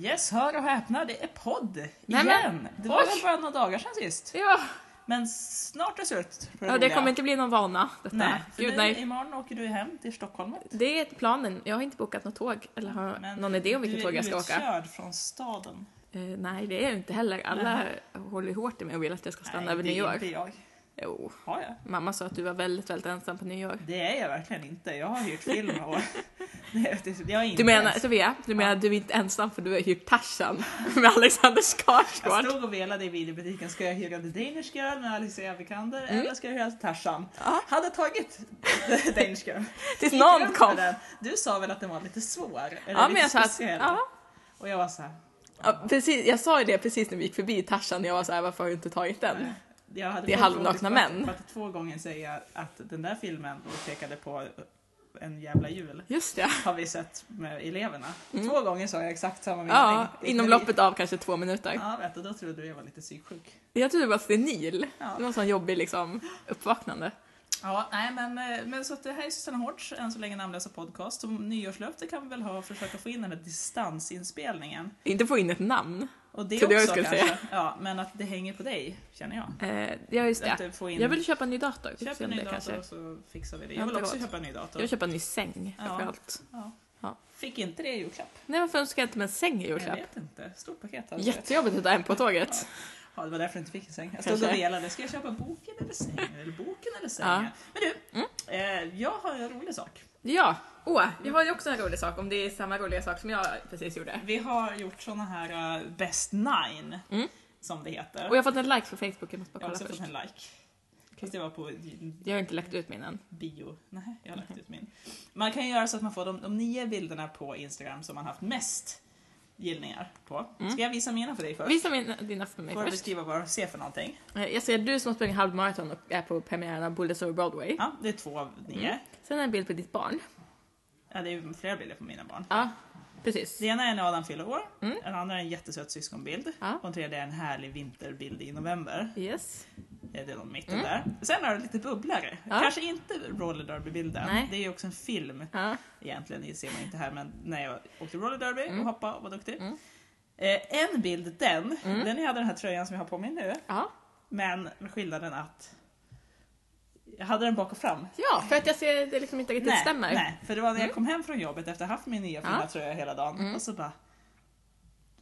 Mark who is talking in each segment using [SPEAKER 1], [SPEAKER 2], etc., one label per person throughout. [SPEAKER 1] Yes, hör och häpna, det är podd igen!
[SPEAKER 2] Nej, men-
[SPEAKER 1] det var
[SPEAKER 2] oj.
[SPEAKER 1] väl bara några dagar sedan sist.
[SPEAKER 2] Ja,
[SPEAKER 1] Men snart är slut för
[SPEAKER 2] ja det
[SPEAKER 1] roliga.
[SPEAKER 2] kommer inte bli någon vana detta.
[SPEAKER 1] Nej, för
[SPEAKER 2] Gud,
[SPEAKER 1] nu,
[SPEAKER 2] nej.
[SPEAKER 1] imorgon åker du hem till Stockholm. vet du.
[SPEAKER 2] Det är planen. Jag har inte bokat något tåg eller har någon idé om vilket tåg jag ska åka.
[SPEAKER 1] Du är utkörd från staden.
[SPEAKER 2] Eh, nej, det är jag inte heller. Alla håller ju hårt i mig och vill att jag ska stanna över
[SPEAKER 1] det är
[SPEAKER 2] New York.
[SPEAKER 1] inte jag.
[SPEAKER 2] Jo,
[SPEAKER 1] Har jag?
[SPEAKER 2] mamma sa att du var väldigt, väldigt ensam på New York.
[SPEAKER 1] Det är jag verkligen inte. Jag har hyrt film och... Nej, det- jag är inte
[SPEAKER 2] Du menar,
[SPEAKER 1] ens-
[SPEAKER 2] Sofia, du menar att du är inte ensam för du har hyrt Tarzan med Alexander
[SPEAKER 1] Jag
[SPEAKER 2] Skarsgård.
[SPEAKER 1] stod och velade i videobutiken, ska jag hyra The Danish Girl med Alicia Vikander
[SPEAKER 2] Mm.
[SPEAKER 1] eller ska jag hyra Tarzan?
[SPEAKER 2] Ja.
[SPEAKER 1] Hade tagit The Danish Girl.
[SPEAKER 2] Tills
[SPEAKER 1] Gick
[SPEAKER 2] någon
[SPEAKER 1] runt
[SPEAKER 2] kom.
[SPEAKER 1] med den. Du sa väl att den var lite svår? Eller
[SPEAKER 2] Ja,
[SPEAKER 1] lite
[SPEAKER 2] men jag sa att,
[SPEAKER 1] speciell.
[SPEAKER 2] ja,
[SPEAKER 1] Och jag var så här,
[SPEAKER 2] ja, precis, jag sa ju det precis när vi gick förbi Tarzan. Jag var såhär, varför har du inte tagit den?
[SPEAKER 1] jag hade
[SPEAKER 2] Det är
[SPEAKER 1] fått
[SPEAKER 2] halvnakna
[SPEAKER 1] ordet för-
[SPEAKER 2] män.
[SPEAKER 1] för att två gånger säga att den där filmen då pekade på en jävla jul.
[SPEAKER 2] Just det.
[SPEAKER 1] Har vi sett med eleverna.
[SPEAKER 2] Mm.
[SPEAKER 1] Två gånger sa jag exakt samma mening.
[SPEAKER 2] Ja,
[SPEAKER 1] Det-
[SPEAKER 2] inom loppet av kanske två minuter.
[SPEAKER 1] Ja, vet du, då trodde du jag var lite psyksjuk.
[SPEAKER 2] Jag trodde det var senil.
[SPEAKER 1] Ja.
[SPEAKER 2] Det var en sån jobbig liksom, uppvaknande.
[SPEAKER 1] Ja, nej men, eh, men så att det här är Susanna Hårds, än så länge namnlösa podcast. Som nyårslöfte kan vi väl ha, försöka få in den här distansinspelningen.
[SPEAKER 2] Inte få in ett namn.
[SPEAKER 1] Och det
[SPEAKER 2] Så det jag
[SPEAKER 1] också
[SPEAKER 2] skulle
[SPEAKER 1] kanske. Ja, men att det hänger på dig, känner jag.
[SPEAKER 2] Eh, ja, just
[SPEAKER 1] Att
[SPEAKER 2] det.
[SPEAKER 1] du får in...
[SPEAKER 2] Jag vill köpa en ny dator. Vi får
[SPEAKER 1] Köp
[SPEAKER 2] se
[SPEAKER 1] en
[SPEAKER 2] om
[SPEAKER 1] ny
[SPEAKER 2] det
[SPEAKER 1] dator
[SPEAKER 2] kanske-
[SPEAKER 1] och så fixar vi det.
[SPEAKER 2] Jag
[SPEAKER 1] Jag
[SPEAKER 2] har
[SPEAKER 1] vill
[SPEAKER 2] inte
[SPEAKER 1] också
[SPEAKER 2] råd.
[SPEAKER 1] köpa en ny dator.
[SPEAKER 2] Jag vill köpa en ny säng
[SPEAKER 1] Ja.
[SPEAKER 2] framförallt.
[SPEAKER 1] Ja.
[SPEAKER 2] Ja.
[SPEAKER 1] Fick inte det i julklapp.
[SPEAKER 2] Nej, varför önskar jag inte mig en säng i
[SPEAKER 1] Jag
[SPEAKER 2] julklapp?
[SPEAKER 1] vet inte. Stort paket hade jag.
[SPEAKER 2] Jättejobbigt att ta hem på tåget.
[SPEAKER 1] Ja, det var därför du inte fick en säng. Jag stod
[SPEAKER 2] Kanske.
[SPEAKER 1] och velade. Ska jag köpa boken eller sängen? Eller boken eller sängen? Men du,
[SPEAKER 2] Mm.
[SPEAKER 1] eh, jag har en rolig sak.
[SPEAKER 2] Ja, åh, jag har ju också en rolig sak om det är samma roliga sak som jag precis gjorde.
[SPEAKER 1] Vi har gjort såna här eh, Best Nine,
[SPEAKER 2] Mm.
[SPEAKER 1] som det heter.
[SPEAKER 2] Och jag har fått en like på Facebook, jag måste
[SPEAKER 1] Jag har
[SPEAKER 2] bara
[SPEAKER 1] också
[SPEAKER 2] kolla
[SPEAKER 1] fått en
[SPEAKER 2] först.
[SPEAKER 1] like. Fast det var på
[SPEAKER 2] Jag har inte lagt ut min än.
[SPEAKER 1] bio. Nej, jag har lagt ut min. Man kan ju göra så att man får de, de nio bilderna på Instagram som man haft mest gillningar på.
[SPEAKER 2] Mm.
[SPEAKER 1] Ska jag visa mina för dig först?
[SPEAKER 2] Visa min, dina för mig
[SPEAKER 1] Får jag
[SPEAKER 2] först.
[SPEAKER 1] beskriva vad de ser för någonting?
[SPEAKER 2] Eh, Jag ser du som springer halvmaraton och är på premiären av Bullets over Broadway.
[SPEAKER 1] Ja, det är två av nio.
[SPEAKER 2] Mm. Sen är en bild på ditt barn.
[SPEAKER 1] Ja, det är flera bilder på mina barn.
[SPEAKER 2] Ja, precis.
[SPEAKER 1] Det ena är när Adam fyller år,
[SPEAKER 2] Mm.
[SPEAKER 1] den andra är en jättesöt syskonbild
[SPEAKER 2] Ja.
[SPEAKER 1] och den tredje är en härlig vinterbild i november.
[SPEAKER 2] Yes.
[SPEAKER 1] Eh, Det är någon mitten
[SPEAKER 2] Mm.
[SPEAKER 1] där. Sen har du lite bubblare.
[SPEAKER 2] Ja.
[SPEAKER 1] Kanske inte roller derby-bilden,
[SPEAKER 2] Nej.
[SPEAKER 1] det är ju också en film
[SPEAKER 2] Ja.
[SPEAKER 1] egentligen, det ser man inte här, men när jag åkte roller derby
[SPEAKER 2] Mm.
[SPEAKER 1] och hoppade och var duktig.
[SPEAKER 2] Mm.
[SPEAKER 1] Eh, en bild, den,
[SPEAKER 2] Mm.
[SPEAKER 1] den jag hade den här tröjan som jag har på mig nu,
[SPEAKER 2] Ja.
[SPEAKER 1] men med skillnaden att jag hade den bak och fram.
[SPEAKER 2] ja, för att jag ser det liksom inte riktigt
[SPEAKER 1] nej,
[SPEAKER 2] stämmer.
[SPEAKER 1] nej, för det var när jag
[SPEAKER 2] Mm.
[SPEAKER 1] kom hem från jobbet efter att ha haft min nya fina
[SPEAKER 2] Ja.
[SPEAKER 1] tröja hela dagen
[SPEAKER 2] Mm.
[SPEAKER 1] och så bara,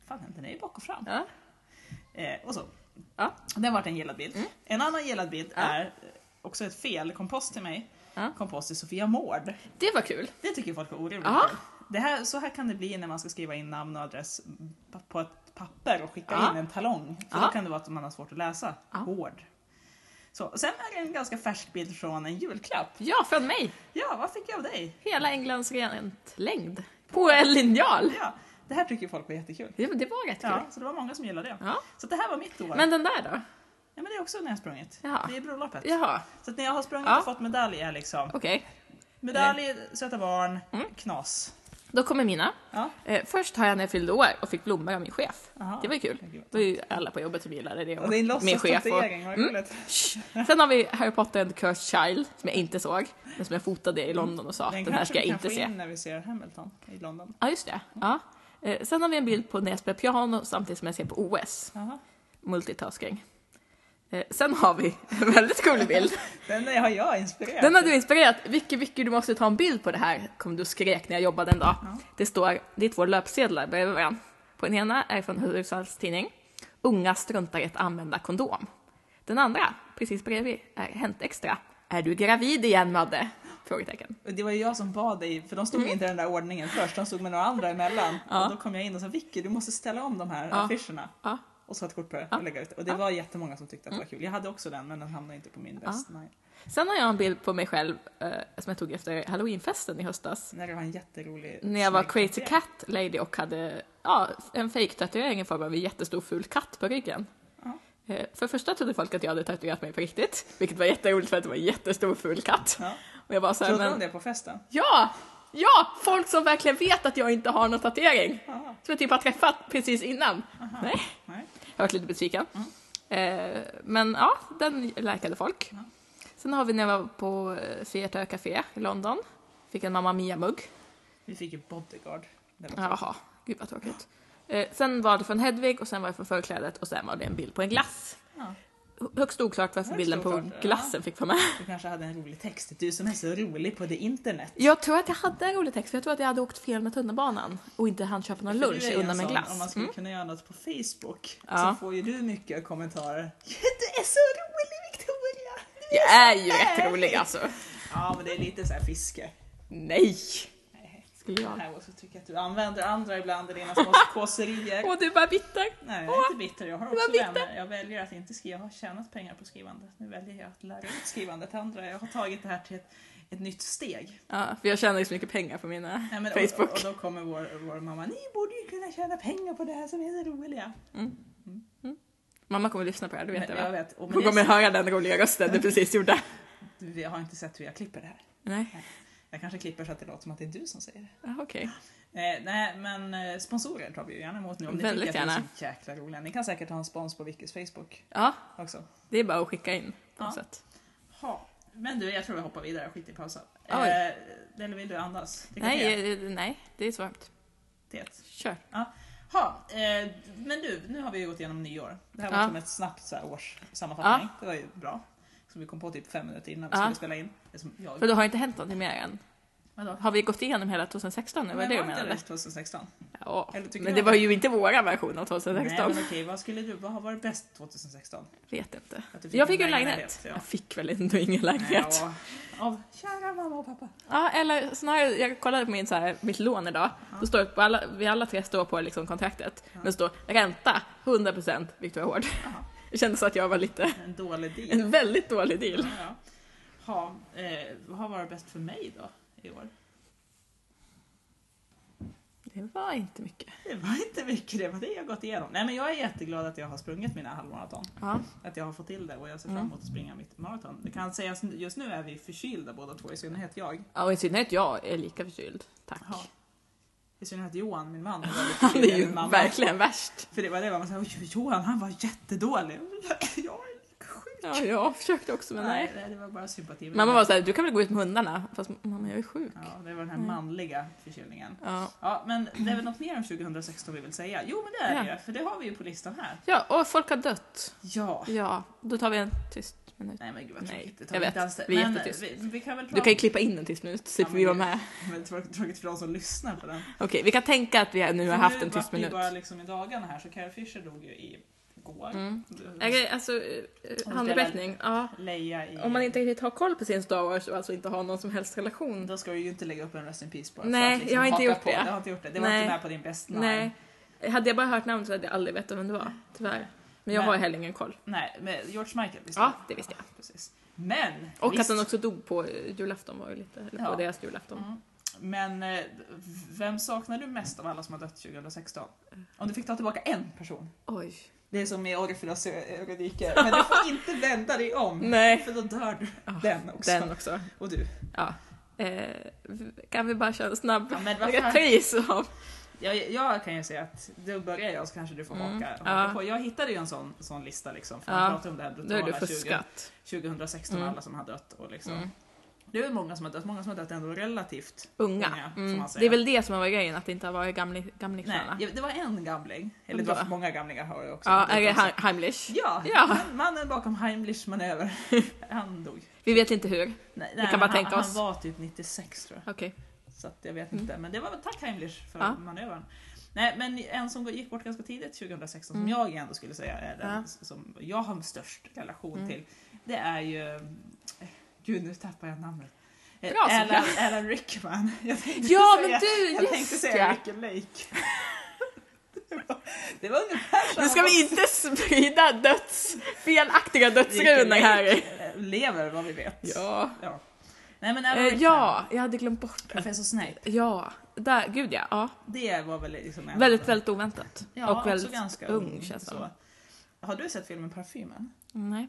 [SPEAKER 1] fan den är ju bak och fram.
[SPEAKER 2] Ja.
[SPEAKER 1] Eh, och så.
[SPEAKER 2] Ja.
[SPEAKER 1] Den vart en gillad bild.
[SPEAKER 2] Mm.
[SPEAKER 1] En annan gillad bild
[SPEAKER 2] Ja.
[SPEAKER 1] är eh, också ett fel, kompost till mig.
[SPEAKER 2] Ja.
[SPEAKER 1] Kompost till Sofia Mård.
[SPEAKER 2] Det var kul.
[SPEAKER 1] Det tycker folk är orimligt
[SPEAKER 2] Ja.
[SPEAKER 1] kul. det här, Så här kan det bli när man ska skriva in namn och adress pa- på ett papper och skicka
[SPEAKER 2] Ja.
[SPEAKER 1] in en talong. För
[SPEAKER 2] Ja.
[SPEAKER 1] då kan det vara att man har svårt att läsa.
[SPEAKER 2] Ja.
[SPEAKER 1] Hård. Så, sen är det en ganska färsk bild från en julklapp.
[SPEAKER 2] Ja, från mig.
[SPEAKER 1] Ja, vad fick jag av dig?
[SPEAKER 2] Hela Englands längd På en linjal.
[SPEAKER 1] Ja, det här tycker folk var jättekul.
[SPEAKER 2] Det, det var rätt
[SPEAKER 1] Ja,
[SPEAKER 2] kul.
[SPEAKER 1] så det var många som gillade det.
[SPEAKER 2] Ja.
[SPEAKER 1] Så det här var mitt år.
[SPEAKER 2] Men den där då?
[SPEAKER 1] ja, men det är också när jag har sprungit.
[SPEAKER 2] Jaha.
[SPEAKER 1] Det är bröllopet.
[SPEAKER 2] Jaha,
[SPEAKER 1] Så att när jag har sprungit
[SPEAKER 2] Ja.
[SPEAKER 1] och fått medalj är liksom
[SPEAKER 2] okej.
[SPEAKER 1] medalj, söta barn,
[SPEAKER 2] Mm.
[SPEAKER 1] knas.
[SPEAKER 2] Då kommer mina.
[SPEAKER 1] Ja.
[SPEAKER 2] Eh, först har jag när jag fyllde år och fick blommor av min chef.
[SPEAKER 1] Aha.
[SPEAKER 2] Det var ju kul. Det var ju alla på jobbet som gillade det.
[SPEAKER 1] Och det är en
[SPEAKER 2] min chef och...
[SPEAKER 1] låtsastatuering, vad
[SPEAKER 2] Mm.
[SPEAKER 1] roligt.
[SPEAKER 2] Shh. Sen har vi Harry Potter and the Cursed Child, som jag inte såg, men som jag fotade i London och sa att den här
[SPEAKER 1] Mm. kanske
[SPEAKER 2] ska jag
[SPEAKER 1] vi kan
[SPEAKER 2] inte
[SPEAKER 1] få
[SPEAKER 2] se.
[SPEAKER 1] in när vi ser Hamilton i London.
[SPEAKER 2] Ja, just det. Ja. Eh, Sen har vi en bild på när jag spelar piano samtidigt som jag ser på OS.
[SPEAKER 1] Jaha.
[SPEAKER 2] Multitasking. Eh, Sen har vi en väldigt cool bild.
[SPEAKER 1] Den har jag inspirerat.
[SPEAKER 2] Den har du inspirerat. Vicky, Vicky, du måste ta en bild på det här, kom du och skrek när jag jobbade en dag.
[SPEAKER 1] Ja.
[SPEAKER 2] Det står, det är två löpsedlar bredvid varandra. På den ena är från Hudiksvalls tidning, Unga struntar i att använda kondom. Den andra, precis bredvid, är Hänt Extra. Är du gravid igen, Madde? Frågetecken.
[SPEAKER 1] Och Det var ju jag som bad dig, för de stod inte i den där ordningen först, de stod med några andra emellan.
[SPEAKER 2] Mm. Ja.
[SPEAKER 1] Och då kom jag in och sa Vicky, du måste ställa om de här
[SPEAKER 2] Ja.
[SPEAKER 1] affischerna.
[SPEAKER 2] Ja.
[SPEAKER 1] Och så ett kort på det
[SPEAKER 2] Ja.
[SPEAKER 1] och lägga ut. Och det
[SPEAKER 2] Ja. Mm.
[SPEAKER 1] var jättemånga som tyckte att det var kul. Jag hade också den, men den hamnade inte på min bäst. Nej.
[SPEAKER 2] Sen har jag en bild på mig själv eh, som jag tog efter halloweenfesten i höstas.
[SPEAKER 1] När det var en jätterolig...
[SPEAKER 2] När jag var
[SPEAKER 1] snygg
[SPEAKER 2] crazy
[SPEAKER 1] kaffe.
[SPEAKER 2] cat lady och hade ja, en fake tatuering i form av en jättestor ful katt på ryggen.
[SPEAKER 1] Ja.
[SPEAKER 2] Eh, För det första trodde folk att jag hade tatuerat mig på riktigt, vilket var jätteroligt för att det var en jättestor ful katt.
[SPEAKER 1] Ja.
[SPEAKER 2] Och jag bara såhär,
[SPEAKER 1] Trodde de
[SPEAKER 2] men
[SPEAKER 1] det på festen?
[SPEAKER 2] ja! Ja! Folk som verkligen vet att jag inte har någon tatuering!
[SPEAKER 1] Jaha.
[SPEAKER 2] Som jag typ har träffat precis innan.
[SPEAKER 1] Aha.
[SPEAKER 2] Nej.
[SPEAKER 1] Nej.
[SPEAKER 2] Jag varit lite besviken.
[SPEAKER 1] Mm.
[SPEAKER 2] Eh, men ja, den läkade folk.
[SPEAKER 1] Ja.
[SPEAKER 2] Sen har vi när jag var på eh, Theater Café i London. Fick en Mamma Mia-mugg.
[SPEAKER 1] Vi fick ju bodyguard. Det var
[SPEAKER 2] Jaha, gud vad tråkigt. Eh, sen var det från Hedvig och sen var det från förklädet och sen var det en bild på en glass.
[SPEAKER 1] Ja.
[SPEAKER 2] Högst oklart varför
[SPEAKER 1] Högst
[SPEAKER 2] bilden på
[SPEAKER 1] oklart, ja.
[SPEAKER 2] glassen fick vara med.
[SPEAKER 1] Du kanske hade en rolig text. Du som är så rolig på det internet.
[SPEAKER 2] Jag tror att jag hade en rolig text, för jag tror att jag hade åkt fel med tunnelbanan och inte hann köpa någon
[SPEAKER 1] För du
[SPEAKER 2] lunch
[SPEAKER 1] är ju
[SPEAKER 2] undan
[SPEAKER 1] en
[SPEAKER 2] med
[SPEAKER 1] sån,
[SPEAKER 2] glass.
[SPEAKER 1] Om man skulle
[SPEAKER 2] Mm.
[SPEAKER 1] kunna göra något på Facebook
[SPEAKER 2] Ja.
[SPEAKER 1] så får ju du mycket kommentarer. Du är så rolig Victoria!
[SPEAKER 2] Jag är ju rätt rolig alltså.
[SPEAKER 1] Ja men det är lite så här fiske.
[SPEAKER 2] Nej!
[SPEAKER 1] Nej.
[SPEAKER 2] Skulle jag.
[SPEAKER 1] Här också tycker jag att du använder andra ibland i dina små kåserier.
[SPEAKER 2] Och du bara bitter.
[SPEAKER 1] Nej jag är inte bitter, jag har också
[SPEAKER 2] bitter.
[SPEAKER 1] vänner. Jag väljer att inte skriva, jag har tjänat pengar på skrivandet. Nu väljer jag att lära ut skrivandet till andra. Jag har tagit det här till ett, ett nytt steg.
[SPEAKER 2] Ja, för jag tjänar ju så mycket pengar på mina
[SPEAKER 1] Nej, men,
[SPEAKER 2] Facebook.
[SPEAKER 1] Och, och då kommer vår, vår mamma, ni borde ju kunna tjäna pengar på det här som är så roliga.
[SPEAKER 2] Mm. Mamma kommer lyssna på det här, du vet
[SPEAKER 1] Mm. Men-
[SPEAKER 2] det
[SPEAKER 1] jag
[SPEAKER 2] va?
[SPEAKER 1] vet. Och,
[SPEAKER 2] Hon
[SPEAKER 1] men
[SPEAKER 2] kommer
[SPEAKER 1] jag,
[SPEAKER 2] höra den roliga rösten du precis gjorde.
[SPEAKER 1] vi har inte sett hur jag klipper det här.
[SPEAKER 2] Nej,
[SPEAKER 1] Jag kanske klipper så att det låter som att det är du som säger det.
[SPEAKER 2] ah, okej.
[SPEAKER 1] Eh, nej, men eh, sponsorer tar vi ju gärna emot nu om ni
[SPEAKER 2] Väldigt
[SPEAKER 1] tycker att
[SPEAKER 2] gärna.
[SPEAKER 1] vi är så jäkla roliga. Ni kan säkert ha en spons på Vickys Facebook
[SPEAKER 2] Ja,
[SPEAKER 1] också.
[SPEAKER 2] det är bara att skicka in på något
[SPEAKER 1] Ja.
[SPEAKER 2] sätt.
[SPEAKER 1] Ha. Men du, jag tror vi hoppar vidare. Skit i pausen. Eh,
[SPEAKER 2] Oj.
[SPEAKER 1] eller vill du andas? Det kan
[SPEAKER 2] Nej,
[SPEAKER 1] jag-
[SPEAKER 2] eh, nej, det är så varmt.
[SPEAKER 1] det.
[SPEAKER 2] Kör.
[SPEAKER 1] Ha. Eh, men du, nu har vi ju gått igenom nyår. Det här var
[SPEAKER 2] Ja.
[SPEAKER 1] som ett snabbt så här, årssammanfattning. Det var ju bra. Som vi kom på typ fem minuter innan vi
[SPEAKER 2] Ja.
[SPEAKER 1] skulle spela in. Det som jag...
[SPEAKER 2] För då har inte hänt någonting mer än.
[SPEAKER 1] Vadå?
[SPEAKER 2] Har vi gått igenom hela 2016 nu? Var det det du
[SPEAKER 1] inte
[SPEAKER 2] menade?
[SPEAKER 1] 2016?
[SPEAKER 2] Ja,
[SPEAKER 1] Eller tycker
[SPEAKER 2] men
[SPEAKER 1] du
[SPEAKER 2] det
[SPEAKER 1] att-
[SPEAKER 2] var ju inte våra version av
[SPEAKER 1] Nej,
[SPEAKER 2] 2016.
[SPEAKER 1] men okej, vad skulle du, vad har varit bäst 2016?
[SPEAKER 2] Vet inte.
[SPEAKER 1] Att du
[SPEAKER 2] Jag fick ju en lägenhet.
[SPEAKER 1] ja.
[SPEAKER 2] Jag fick väl ändå ingen lägenhet.
[SPEAKER 1] Ja, av kära mamma och pappa.
[SPEAKER 2] Ja, eller snarare, jag kollade på min, så här, mitt lån idag. Då står det på alla, vi alla tre står på liksom, kontraktet. Men det står ränta 100% Victoria Hård.
[SPEAKER 1] Jaha.
[SPEAKER 2] Det kändes så att jag var lite,
[SPEAKER 1] En dålig deal.
[SPEAKER 2] en väldigt dålig deal.
[SPEAKER 1] Ja. Ha, eh, vad har varit bäst för mig då i år?
[SPEAKER 2] Det var inte mycket.
[SPEAKER 1] Det var inte mycket, det var det jag gått igenom. Nej men jag är jätteglad att jag har sprungit mina halvmaraton.
[SPEAKER 2] Ja,
[SPEAKER 1] Att jag har fått till det och jag ser
[SPEAKER 2] Mm.
[SPEAKER 1] fram emot att springa mitt maraton. Det kan sägas, just nu är vi förkylda båda två, i synnerhet jag.
[SPEAKER 2] ja och i synnerhet jag är lika förkyld. Tack.
[SPEAKER 1] Ja. I synnerhet Johan, min man, är väldigt
[SPEAKER 2] Han är
[SPEAKER 1] förkyld,
[SPEAKER 2] ju
[SPEAKER 1] min mamma.
[SPEAKER 2] verkligen värst.
[SPEAKER 1] För det var det man sa, "Oj, Johan han var jättedålig. Jag är sjuk.
[SPEAKER 2] Ja, jag försökte också men nej.
[SPEAKER 1] det var bara sympati.
[SPEAKER 2] Mamma var såhär, du kan väl gå ut med hundarna? Fast mamma jag är sjuk.
[SPEAKER 1] Ja, det var den här
[SPEAKER 2] Mm.
[SPEAKER 1] manliga förkylningen.
[SPEAKER 2] Ja.
[SPEAKER 1] Ja, men det är väl något mer om 2016 vi vill säga? Jo, men det är det
[SPEAKER 2] Ja.
[SPEAKER 1] ju, för det har vi ju på listan här.
[SPEAKER 2] ja, och folk har dött.
[SPEAKER 1] Ja.
[SPEAKER 2] Ja, då tar vi en tyst minut.
[SPEAKER 1] Nej men gud vad
[SPEAKER 2] Nej,
[SPEAKER 1] tråkigt. Det
[SPEAKER 2] jag
[SPEAKER 1] vi
[SPEAKER 2] vet.
[SPEAKER 1] inte alls det.
[SPEAKER 2] Vi är
[SPEAKER 1] men
[SPEAKER 2] jättetyst.
[SPEAKER 1] vi, vi kan väl prata
[SPEAKER 2] Du kan ju klippa in en tyst minut, så
[SPEAKER 1] Ja,
[SPEAKER 2] slipper
[SPEAKER 1] men
[SPEAKER 2] vi vara
[SPEAKER 1] det-
[SPEAKER 2] med.
[SPEAKER 1] väldigt tråk- tråkigt för de som lyssnar på den.
[SPEAKER 2] Okej, vi kan tänka att vi nu har
[SPEAKER 1] För
[SPEAKER 2] haft
[SPEAKER 1] nu
[SPEAKER 2] en tyst
[SPEAKER 1] vart det ju
[SPEAKER 2] minut.
[SPEAKER 1] bara liksom i dagarna här, så Carrie Fisher dog ju i går.
[SPEAKER 2] Mm.
[SPEAKER 1] Du-
[SPEAKER 2] Är det, alltså, eh, eh,
[SPEAKER 1] Om
[SPEAKER 2] handberättning. Ja.
[SPEAKER 1] Leia i...
[SPEAKER 2] Om man inte riktigt har koll på sin Star Wars och alltså inte har någon som helst relation.
[SPEAKER 1] Då ska du ju inte lägga upp en Rest in Peace bara för
[SPEAKER 2] Nej,
[SPEAKER 1] att liksom
[SPEAKER 2] jag har inte
[SPEAKER 1] haka
[SPEAKER 2] gjort
[SPEAKER 1] på.
[SPEAKER 2] det.
[SPEAKER 1] Du har inte gjort det. Det var
[SPEAKER 2] Nej.
[SPEAKER 1] inte med på din best nine.
[SPEAKER 2] Nej. Hade jag bara hört namnet så hade jag aldrig vetat vem det var, tyvärr. Men jag
[SPEAKER 1] Men-
[SPEAKER 2] har heller ingen koll.
[SPEAKER 1] Nej, men George Michael visste
[SPEAKER 2] Ja,
[SPEAKER 1] du?
[SPEAKER 2] det visste jag.
[SPEAKER 1] Precis. Men!
[SPEAKER 2] Och
[SPEAKER 1] visst.
[SPEAKER 2] att han också dog på eh, julafton var ju lite, eller på
[SPEAKER 1] Ja.
[SPEAKER 2] deras julafton.
[SPEAKER 1] Mm. Men eh, vem saknar du mest av alla som har dött 2016? Om du fick ta tillbaka en person.
[SPEAKER 2] Oj.
[SPEAKER 1] Det är som i Orfeus ögonrike. Men du får inte vända dig om.
[SPEAKER 2] Nej.
[SPEAKER 1] För då dör du.
[SPEAKER 2] Ah,
[SPEAKER 1] Den Mm. också.
[SPEAKER 2] Den också.
[SPEAKER 1] Och du.
[SPEAKER 2] Ja. Eh, kan vi bara köra en snabb
[SPEAKER 1] Ja, men vad fan.
[SPEAKER 2] repris av...
[SPEAKER 1] Jag, jag kan ju säga att då börjar jag så kanske du får haka,
[SPEAKER 2] Mm,
[SPEAKER 1] haka
[SPEAKER 2] ja.
[SPEAKER 1] på. Jag hittade ju en sån, sån lista liksom. För
[SPEAKER 2] Ja,
[SPEAKER 1] man pratar om det här
[SPEAKER 2] Nu har du
[SPEAKER 1] brutala 20,
[SPEAKER 2] fuskat.
[SPEAKER 1] 2016
[SPEAKER 2] Mm.
[SPEAKER 1] alla som har dött. Och liksom.
[SPEAKER 2] Mm.
[SPEAKER 1] Det är ju många som har dött. Många som har dött ändå relativt
[SPEAKER 2] Unga.
[SPEAKER 1] unga, får
[SPEAKER 2] Mm.
[SPEAKER 1] man säga.
[SPEAKER 2] Det är väl det som har varit grejen, att det inte har varit gamli- gamlingarna.
[SPEAKER 1] Nej, det var en gamling. Eller det
[SPEAKER 2] Vadå?
[SPEAKER 1] var för många gamlingar har jag också.
[SPEAKER 2] Ja, är det
[SPEAKER 1] Utan så-
[SPEAKER 2] Heim- Heimlich?
[SPEAKER 1] Ja,
[SPEAKER 2] Ja.
[SPEAKER 1] han- mannen bakom Heimlichs manöver. Han dog.
[SPEAKER 2] Vi vet inte hur.
[SPEAKER 1] Nej,
[SPEAKER 2] kan
[SPEAKER 1] men
[SPEAKER 2] bara
[SPEAKER 1] han,
[SPEAKER 2] tänka oss.
[SPEAKER 1] Han var typ 96 tror jag.
[SPEAKER 2] Okej.
[SPEAKER 1] Så att jag vet inte. Men det var väl tack Heimlich för
[SPEAKER 2] Mm. Ja.
[SPEAKER 1] manövern. Nej, men en som gick bort ganska tidigt 2016
[SPEAKER 2] Mm.
[SPEAKER 1] som jag ändå skulle säga är den
[SPEAKER 2] Ja.
[SPEAKER 1] som jag har störst relation
[SPEAKER 2] Mm.
[SPEAKER 1] till. Det är ju... eh, Gud, nu tappar jag namnet. Eh,
[SPEAKER 2] Bra, Sofia.
[SPEAKER 1] Alan, Alan Rickman. Jag tänkte
[SPEAKER 2] Ja,
[SPEAKER 1] säga,
[SPEAKER 2] men du,
[SPEAKER 1] Jag tänkte
[SPEAKER 2] just
[SPEAKER 1] säga
[SPEAKER 2] ja!
[SPEAKER 1] Ricky Lake. Det var- Det var ungefär samma
[SPEAKER 2] Nu ska vi inte sprida döds, felaktiga dödsrunor
[SPEAKER 1] Ricky
[SPEAKER 2] här.
[SPEAKER 1] Lake, eh, Lever vad vi vet.
[SPEAKER 2] Ja.
[SPEAKER 1] Ja. Nej men Alan
[SPEAKER 2] Eh,
[SPEAKER 1] Rickman.
[SPEAKER 2] ja, jag hade glömt bort det.
[SPEAKER 1] Professor Snape.
[SPEAKER 2] Ja, där, gud ja. ja.
[SPEAKER 1] Det var väl liksom en
[SPEAKER 2] Väldigt, väldigt oväntat.
[SPEAKER 1] ja,
[SPEAKER 2] och väldigt
[SPEAKER 1] också ganska
[SPEAKER 2] ung, känns det
[SPEAKER 1] så. Har du sett filmen Parfymen?
[SPEAKER 2] Mm, Nej.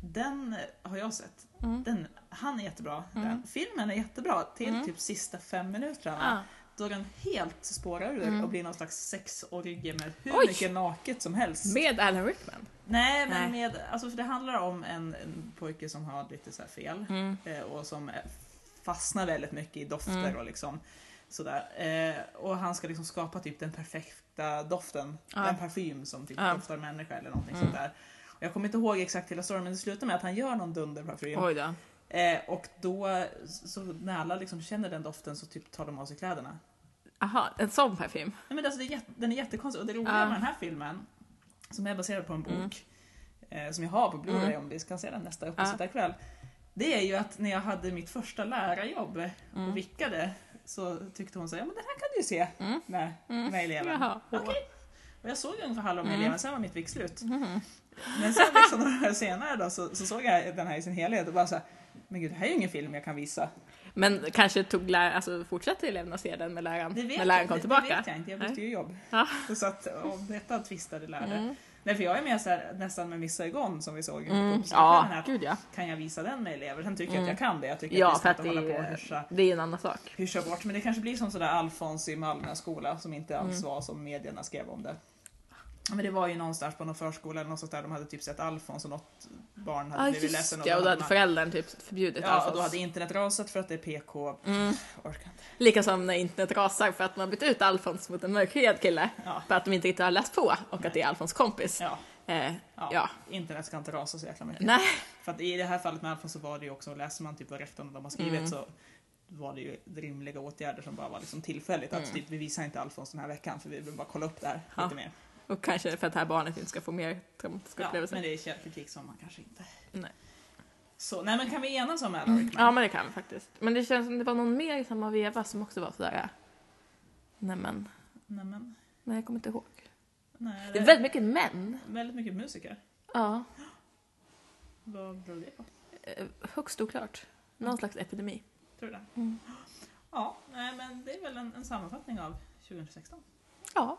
[SPEAKER 1] Den har jag sett.
[SPEAKER 2] Mm.
[SPEAKER 1] Den, han är jättebra.
[SPEAKER 2] Mm.
[SPEAKER 1] Den. Filmen är jättebra till
[SPEAKER 2] Mm.
[SPEAKER 1] typ sista fem minuterna.
[SPEAKER 2] Ah.
[SPEAKER 1] Då den helt spårar ur
[SPEAKER 2] Mm.
[SPEAKER 1] och blir någon slags sexorgie med hur
[SPEAKER 2] Oj!
[SPEAKER 1] mycket naket som helst.
[SPEAKER 2] Med Alan Rickman?
[SPEAKER 1] Nej men
[SPEAKER 2] Nej.
[SPEAKER 1] med, alltså för det handlar om en, en pojke som Mm. har lite så här fel. eh, och som eh, fastnar väldigt mycket i dofter
[SPEAKER 2] Mm.
[SPEAKER 1] och liksom Sådär. Eh, och han ska liksom skapa typ den perfekta doften.
[SPEAKER 2] Ja.
[SPEAKER 1] En parfym som typ
[SPEAKER 2] Ja. Mm.
[SPEAKER 1] doftar människa eller någonting sånt där. Och jag kommer inte ihåg exakt hela storyn men det slutar med att han gör någon dunderparfym.
[SPEAKER 2] Oj då.
[SPEAKER 1] Eh, och då, så när alla liksom känner den doften så typ tar de av sig kläderna.
[SPEAKER 2] Aha, en sån parfym.
[SPEAKER 1] Nej, men alltså, det är jätte, den är jättekonstig och det roliga
[SPEAKER 2] Ja. Mm.
[SPEAKER 1] med den här filmen, som är baserad på en bok, eh, som jag har på Blu-ray om vi kan se den nästa uppesittarkväll. Det är ju att när jag hade mitt första lärarjobb
[SPEAKER 2] Mm.
[SPEAKER 1] och vickade så tyckte hon så här, ja men den här kan du ju se med, med eleven.
[SPEAKER 2] Mm, Jaha.
[SPEAKER 1] Okej. Och jag såg ungefär halva
[SPEAKER 2] Mm.
[SPEAKER 1] med eleven, sen var mitt vick slut. Men sen liksom några år senare då så, så såg jag den här i sin helhet och bara så här, men gud det här är ju ingen film jag kan
[SPEAKER 2] Mm.
[SPEAKER 1] visa.
[SPEAKER 2] Men kanske tog lär, alltså fortsatte eleverna se den med läraren
[SPEAKER 1] Det vet,
[SPEAKER 2] när läraren
[SPEAKER 1] jag,
[SPEAKER 2] kom
[SPEAKER 1] det,
[SPEAKER 2] tillbaka?
[SPEAKER 1] det vet jag inte, jag bytte ju jobb.
[SPEAKER 2] Ja.
[SPEAKER 1] Så att om detta tvistade lärde. Nej för jag är mer så här, nästan med Missa Egon som vi såg
[SPEAKER 2] Mm.
[SPEAKER 1] på
[SPEAKER 2] Ja,
[SPEAKER 1] ja. här.
[SPEAKER 2] gud ja.
[SPEAKER 1] Kan jag visa den med elever? Sen tycker jag att jag kan det. Jag tycker
[SPEAKER 2] Ja,
[SPEAKER 1] att vi
[SPEAKER 2] för
[SPEAKER 1] ska
[SPEAKER 2] att
[SPEAKER 1] inte
[SPEAKER 2] det
[SPEAKER 1] hålla på och
[SPEAKER 2] är,
[SPEAKER 1] hyscha,
[SPEAKER 2] det är en annan sak.
[SPEAKER 1] hyscha bort. Men det kanske blir som sådär Alfons i Malmö skola som inte alls
[SPEAKER 2] Mm.
[SPEAKER 1] var som medierna skrev om det. Men det var ju någonstans på någon förskola eller något sånt där de hade typ sett Alfons och något barn hade
[SPEAKER 2] Ja,
[SPEAKER 1] blivit
[SPEAKER 2] Ah, just
[SPEAKER 1] ledsen.
[SPEAKER 2] det. Och
[SPEAKER 1] då
[SPEAKER 2] då hade
[SPEAKER 1] man-
[SPEAKER 2] föräldern typ förbjudit
[SPEAKER 1] Ja,
[SPEAKER 2] Alfons.
[SPEAKER 1] och då hade internet rasat för att det är PK.
[SPEAKER 2] Mm.
[SPEAKER 1] Orkar inte.
[SPEAKER 2] Lika som när internet rasar för att man bytt ut Alfons mot en mörkhyad kille
[SPEAKER 1] Ja.
[SPEAKER 2] för att de inte riktigt har läst på och att det är Alfons kompis.
[SPEAKER 1] Ja,
[SPEAKER 2] Eh,
[SPEAKER 1] ja.
[SPEAKER 2] Ja.
[SPEAKER 1] internet ska inte rasa så jäkla mycket.
[SPEAKER 2] nej,
[SPEAKER 1] För att i det här fallet med Alfons så var det ju också, läser man typ vad rektorn och de har skrivit
[SPEAKER 2] Mm.
[SPEAKER 1] så var det ju rimliga åtgärder som bara var liksom tillfälligt. Att
[SPEAKER 2] Mm.
[SPEAKER 1] typ, vi visar inte Alfons den här veckan för vi vill bara kolla upp det här
[SPEAKER 2] Ja.
[SPEAKER 1] lite mer.
[SPEAKER 2] och kanske för att det här barnet inte ska få mer traumatiska
[SPEAKER 1] Ja, men
[SPEAKER 2] upplevelser.
[SPEAKER 1] det är källkritik som man kanske inte...
[SPEAKER 2] Nej.
[SPEAKER 1] Så, nej men kan vi enas om Alan Rickman?
[SPEAKER 2] Ja, men det kan vi faktiskt. Men det känns som det var någon mer i samma veva som också var sådär... eh, Nej men,
[SPEAKER 1] Nej, men,
[SPEAKER 2] nej jag kommer inte ihåg.
[SPEAKER 1] nej,
[SPEAKER 2] Det är väldigt mycket män.
[SPEAKER 1] väldigt mycket musiker.
[SPEAKER 2] Ja,
[SPEAKER 1] Vad beror det på?
[SPEAKER 2] eh, högst oklart. Någon slags epidemi.
[SPEAKER 1] Tror du det?
[SPEAKER 2] Mm.
[SPEAKER 1] Ja, nej men det är väl en, en sammanfattning av 2016.
[SPEAKER 2] Ja.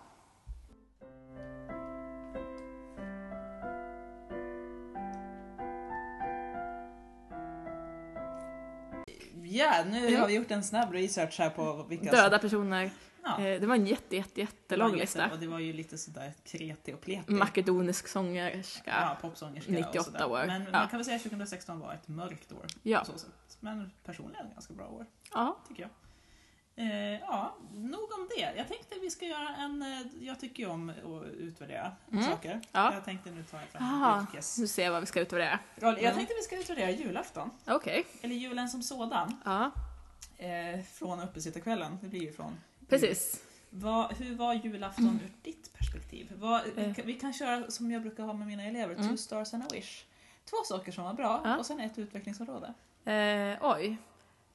[SPEAKER 1] Ja, nu
[SPEAKER 2] Ja.
[SPEAKER 1] har vi gjort en snabb research här på vilka
[SPEAKER 2] Döda personer.
[SPEAKER 1] som... Ja.
[SPEAKER 2] Eh, Det var en jätte, jätte, jättelång lista.
[SPEAKER 1] Och det var ju lite sådär kreti och pleti.
[SPEAKER 2] Makedonisk sångerska.
[SPEAKER 1] ja, popsångerska
[SPEAKER 2] 98
[SPEAKER 1] och sådär.
[SPEAKER 2] år.
[SPEAKER 1] Men
[SPEAKER 2] Ja.
[SPEAKER 1] man kan väl säga att 2016 var ett mörkt år.
[SPEAKER 2] Ja.
[SPEAKER 1] På så sätt. Men personligen ett ganska bra år,
[SPEAKER 2] ja.
[SPEAKER 1] tycker jag. Eh, ja, nog om det. Jag tänkte vi ska göra en... eh, Jag tycker ju om att utvärdera
[SPEAKER 2] Mm.
[SPEAKER 1] saker.
[SPEAKER 2] Ja.
[SPEAKER 1] Jag tänkte nu ta jag
[SPEAKER 2] Aha.
[SPEAKER 1] fram vilkes...
[SPEAKER 2] Nu ser jag vad vi ska utvärdera.
[SPEAKER 1] roll. Jag
[SPEAKER 2] Mm.
[SPEAKER 1] tänkte vi ska utvärdera julafton.
[SPEAKER 2] Okej.
[SPEAKER 1] Eller julen som sådan.
[SPEAKER 2] Ja,
[SPEAKER 1] Eh, från uppesittarkvällen. Det blir ju från...
[SPEAKER 2] precis.
[SPEAKER 1] Vad, hur var julafton ur ditt perspektiv? Vad,
[SPEAKER 2] Eh.
[SPEAKER 1] vi, kan, vi kan köra som jag brukar ha med mina elever, two stars and a wish. Två saker som var bra
[SPEAKER 2] Mm. Ja.
[SPEAKER 1] och sen ett utvecklingsområde.
[SPEAKER 2] Eh, oj.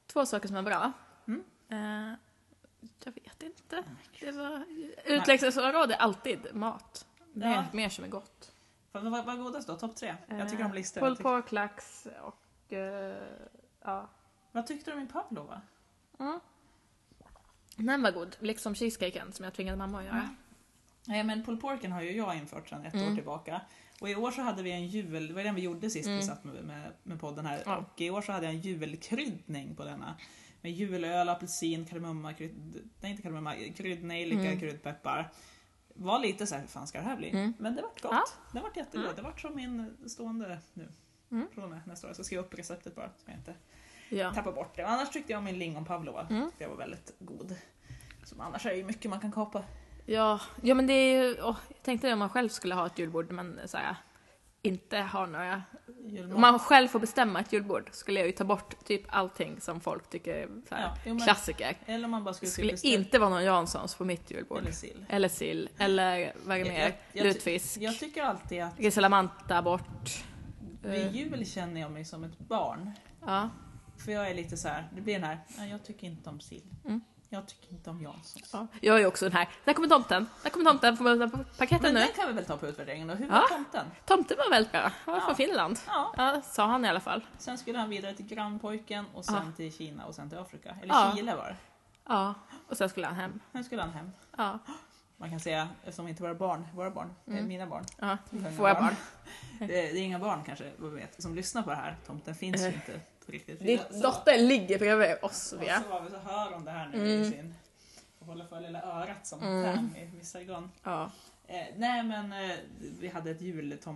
[SPEAKER 2] Två saker som är bra.
[SPEAKER 1] Mm.
[SPEAKER 2] Eh, jag vet inte. Det var... Utläggningsområde, alltid mat. Mer,
[SPEAKER 1] Ja.
[SPEAKER 2] mer som är gott.
[SPEAKER 1] Vad vad- vad är godast då? Topp tre? Jag tycker om
[SPEAKER 2] Eh,
[SPEAKER 1] listor.
[SPEAKER 2] Pol
[SPEAKER 1] Jag tyck-
[SPEAKER 2] Pot, lax och... Eh, ja.
[SPEAKER 1] vad tyckte du om min Pavlova?
[SPEAKER 2] Mm. Den var god, liksom cheesecaken som jag tvingade mamma att
[SPEAKER 1] Mm.
[SPEAKER 2] göra.
[SPEAKER 1] Nej men polporken har ju jag infört sedan ett
[SPEAKER 2] Mm.
[SPEAKER 1] år tillbaka. Och i år så hade vi en jul, det var den vi gjorde sist vi satt med, med, med podden här.
[SPEAKER 2] Mm. Ja.
[SPEAKER 1] Och i år så hade jag en julkryddning på denna. Med julöl, apelsin, kardemumma, krydd, nej inte kardemumma, kryddnejlika,
[SPEAKER 2] Mm.
[SPEAKER 1] kryddpeppar. Var lite såhär, hur fan ska det här bli? Men det vart gott.
[SPEAKER 2] Ja. Mm.
[SPEAKER 1] Det vart jättegott. Det vart som min stående nu. Från och med nästa år. Så ska jag upp receptet bara. Så jag inte
[SPEAKER 2] Ja.
[SPEAKER 1] tappar bort det. Annars tyckte jag om min lingonpavlova. Mm. Det var väldigt god. Som annars är det ju mycket man kan kapa.
[SPEAKER 2] Ja. ja, men det är ju... åh, jag tänkte om man själv skulle ha ett julbord, men så här, inte ha några
[SPEAKER 1] Julmat.
[SPEAKER 2] Om man själv får bestämma ett julbord skulle jag ju ta bort typ allting som folk tycker är så här,
[SPEAKER 1] Ja, jo, men-
[SPEAKER 2] klassiker.
[SPEAKER 1] Eller om man bara
[SPEAKER 2] Det
[SPEAKER 1] skulle,
[SPEAKER 2] skulle
[SPEAKER 1] typ beställa-
[SPEAKER 2] inte vara någon Janssons på mitt julbord.
[SPEAKER 1] Eller
[SPEAKER 2] Eller,
[SPEAKER 1] sill.
[SPEAKER 2] sill, eller vad är det
[SPEAKER 1] Jag-
[SPEAKER 2] mer?
[SPEAKER 1] jag- jag-
[SPEAKER 2] Lutfisk.
[SPEAKER 1] Jag tycker alltid att
[SPEAKER 2] Rissalamanta bort.
[SPEAKER 1] vid
[SPEAKER 2] Eh.
[SPEAKER 1] jul känner jag mig som ett barn.
[SPEAKER 2] Ja.
[SPEAKER 1] För jag är lite så här, det blir den här, "Nej, jag tycker inte om sill.
[SPEAKER 2] Mm.
[SPEAKER 1] Jag tycker inte om Janssons.
[SPEAKER 2] ja. Jag är också den här, där kommer tomten, där kommer tomten, får man öppna
[SPEAKER 1] Men
[SPEAKER 2] paketten nu?
[SPEAKER 1] den kan vi väl ta på utvärderingen då. Hur
[SPEAKER 2] Ja.
[SPEAKER 1] var tomten?
[SPEAKER 2] Tomten var väldigt bra, han var
[SPEAKER 1] Ja.
[SPEAKER 2] från Finland.
[SPEAKER 1] Ja.
[SPEAKER 2] Ja, sa han i alla fall.
[SPEAKER 1] Sen skulle han vidare till grannpojken och sen till Kina och sen till Afrika. Eller
[SPEAKER 2] Ja.
[SPEAKER 1] Chile var det.
[SPEAKER 2] Ja, och sen skulle han hem.
[SPEAKER 1] Sen skulle han hem.
[SPEAKER 2] Ja,
[SPEAKER 1] Man kan säga, eftersom inte våra barn, våra barn, det är mina barn.
[SPEAKER 2] ja.
[SPEAKER 1] Det är inga
[SPEAKER 2] Får jag Mm. barn?
[SPEAKER 1] Det, det är inga barn kanske, vad vi vet, som lyssnar på det här. Tomten finns
[SPEAKER 2] Eh.
[SPEAKER 1] ju inte riktigt.
[SPEAKER 2] Din dotter ligger bredvid oss, Sofia.
[SPEAKER 1] Och så, har vi, så hör hon det här nu i sin... Och håller för lilla örat som
[SPEAKER 2] Mm.
[SPEAKER 1] mm. i vissa ögon.
[SPEAKER 2] Ja.
[SPEAKER 1] Eh, nej men eh, vi hade ett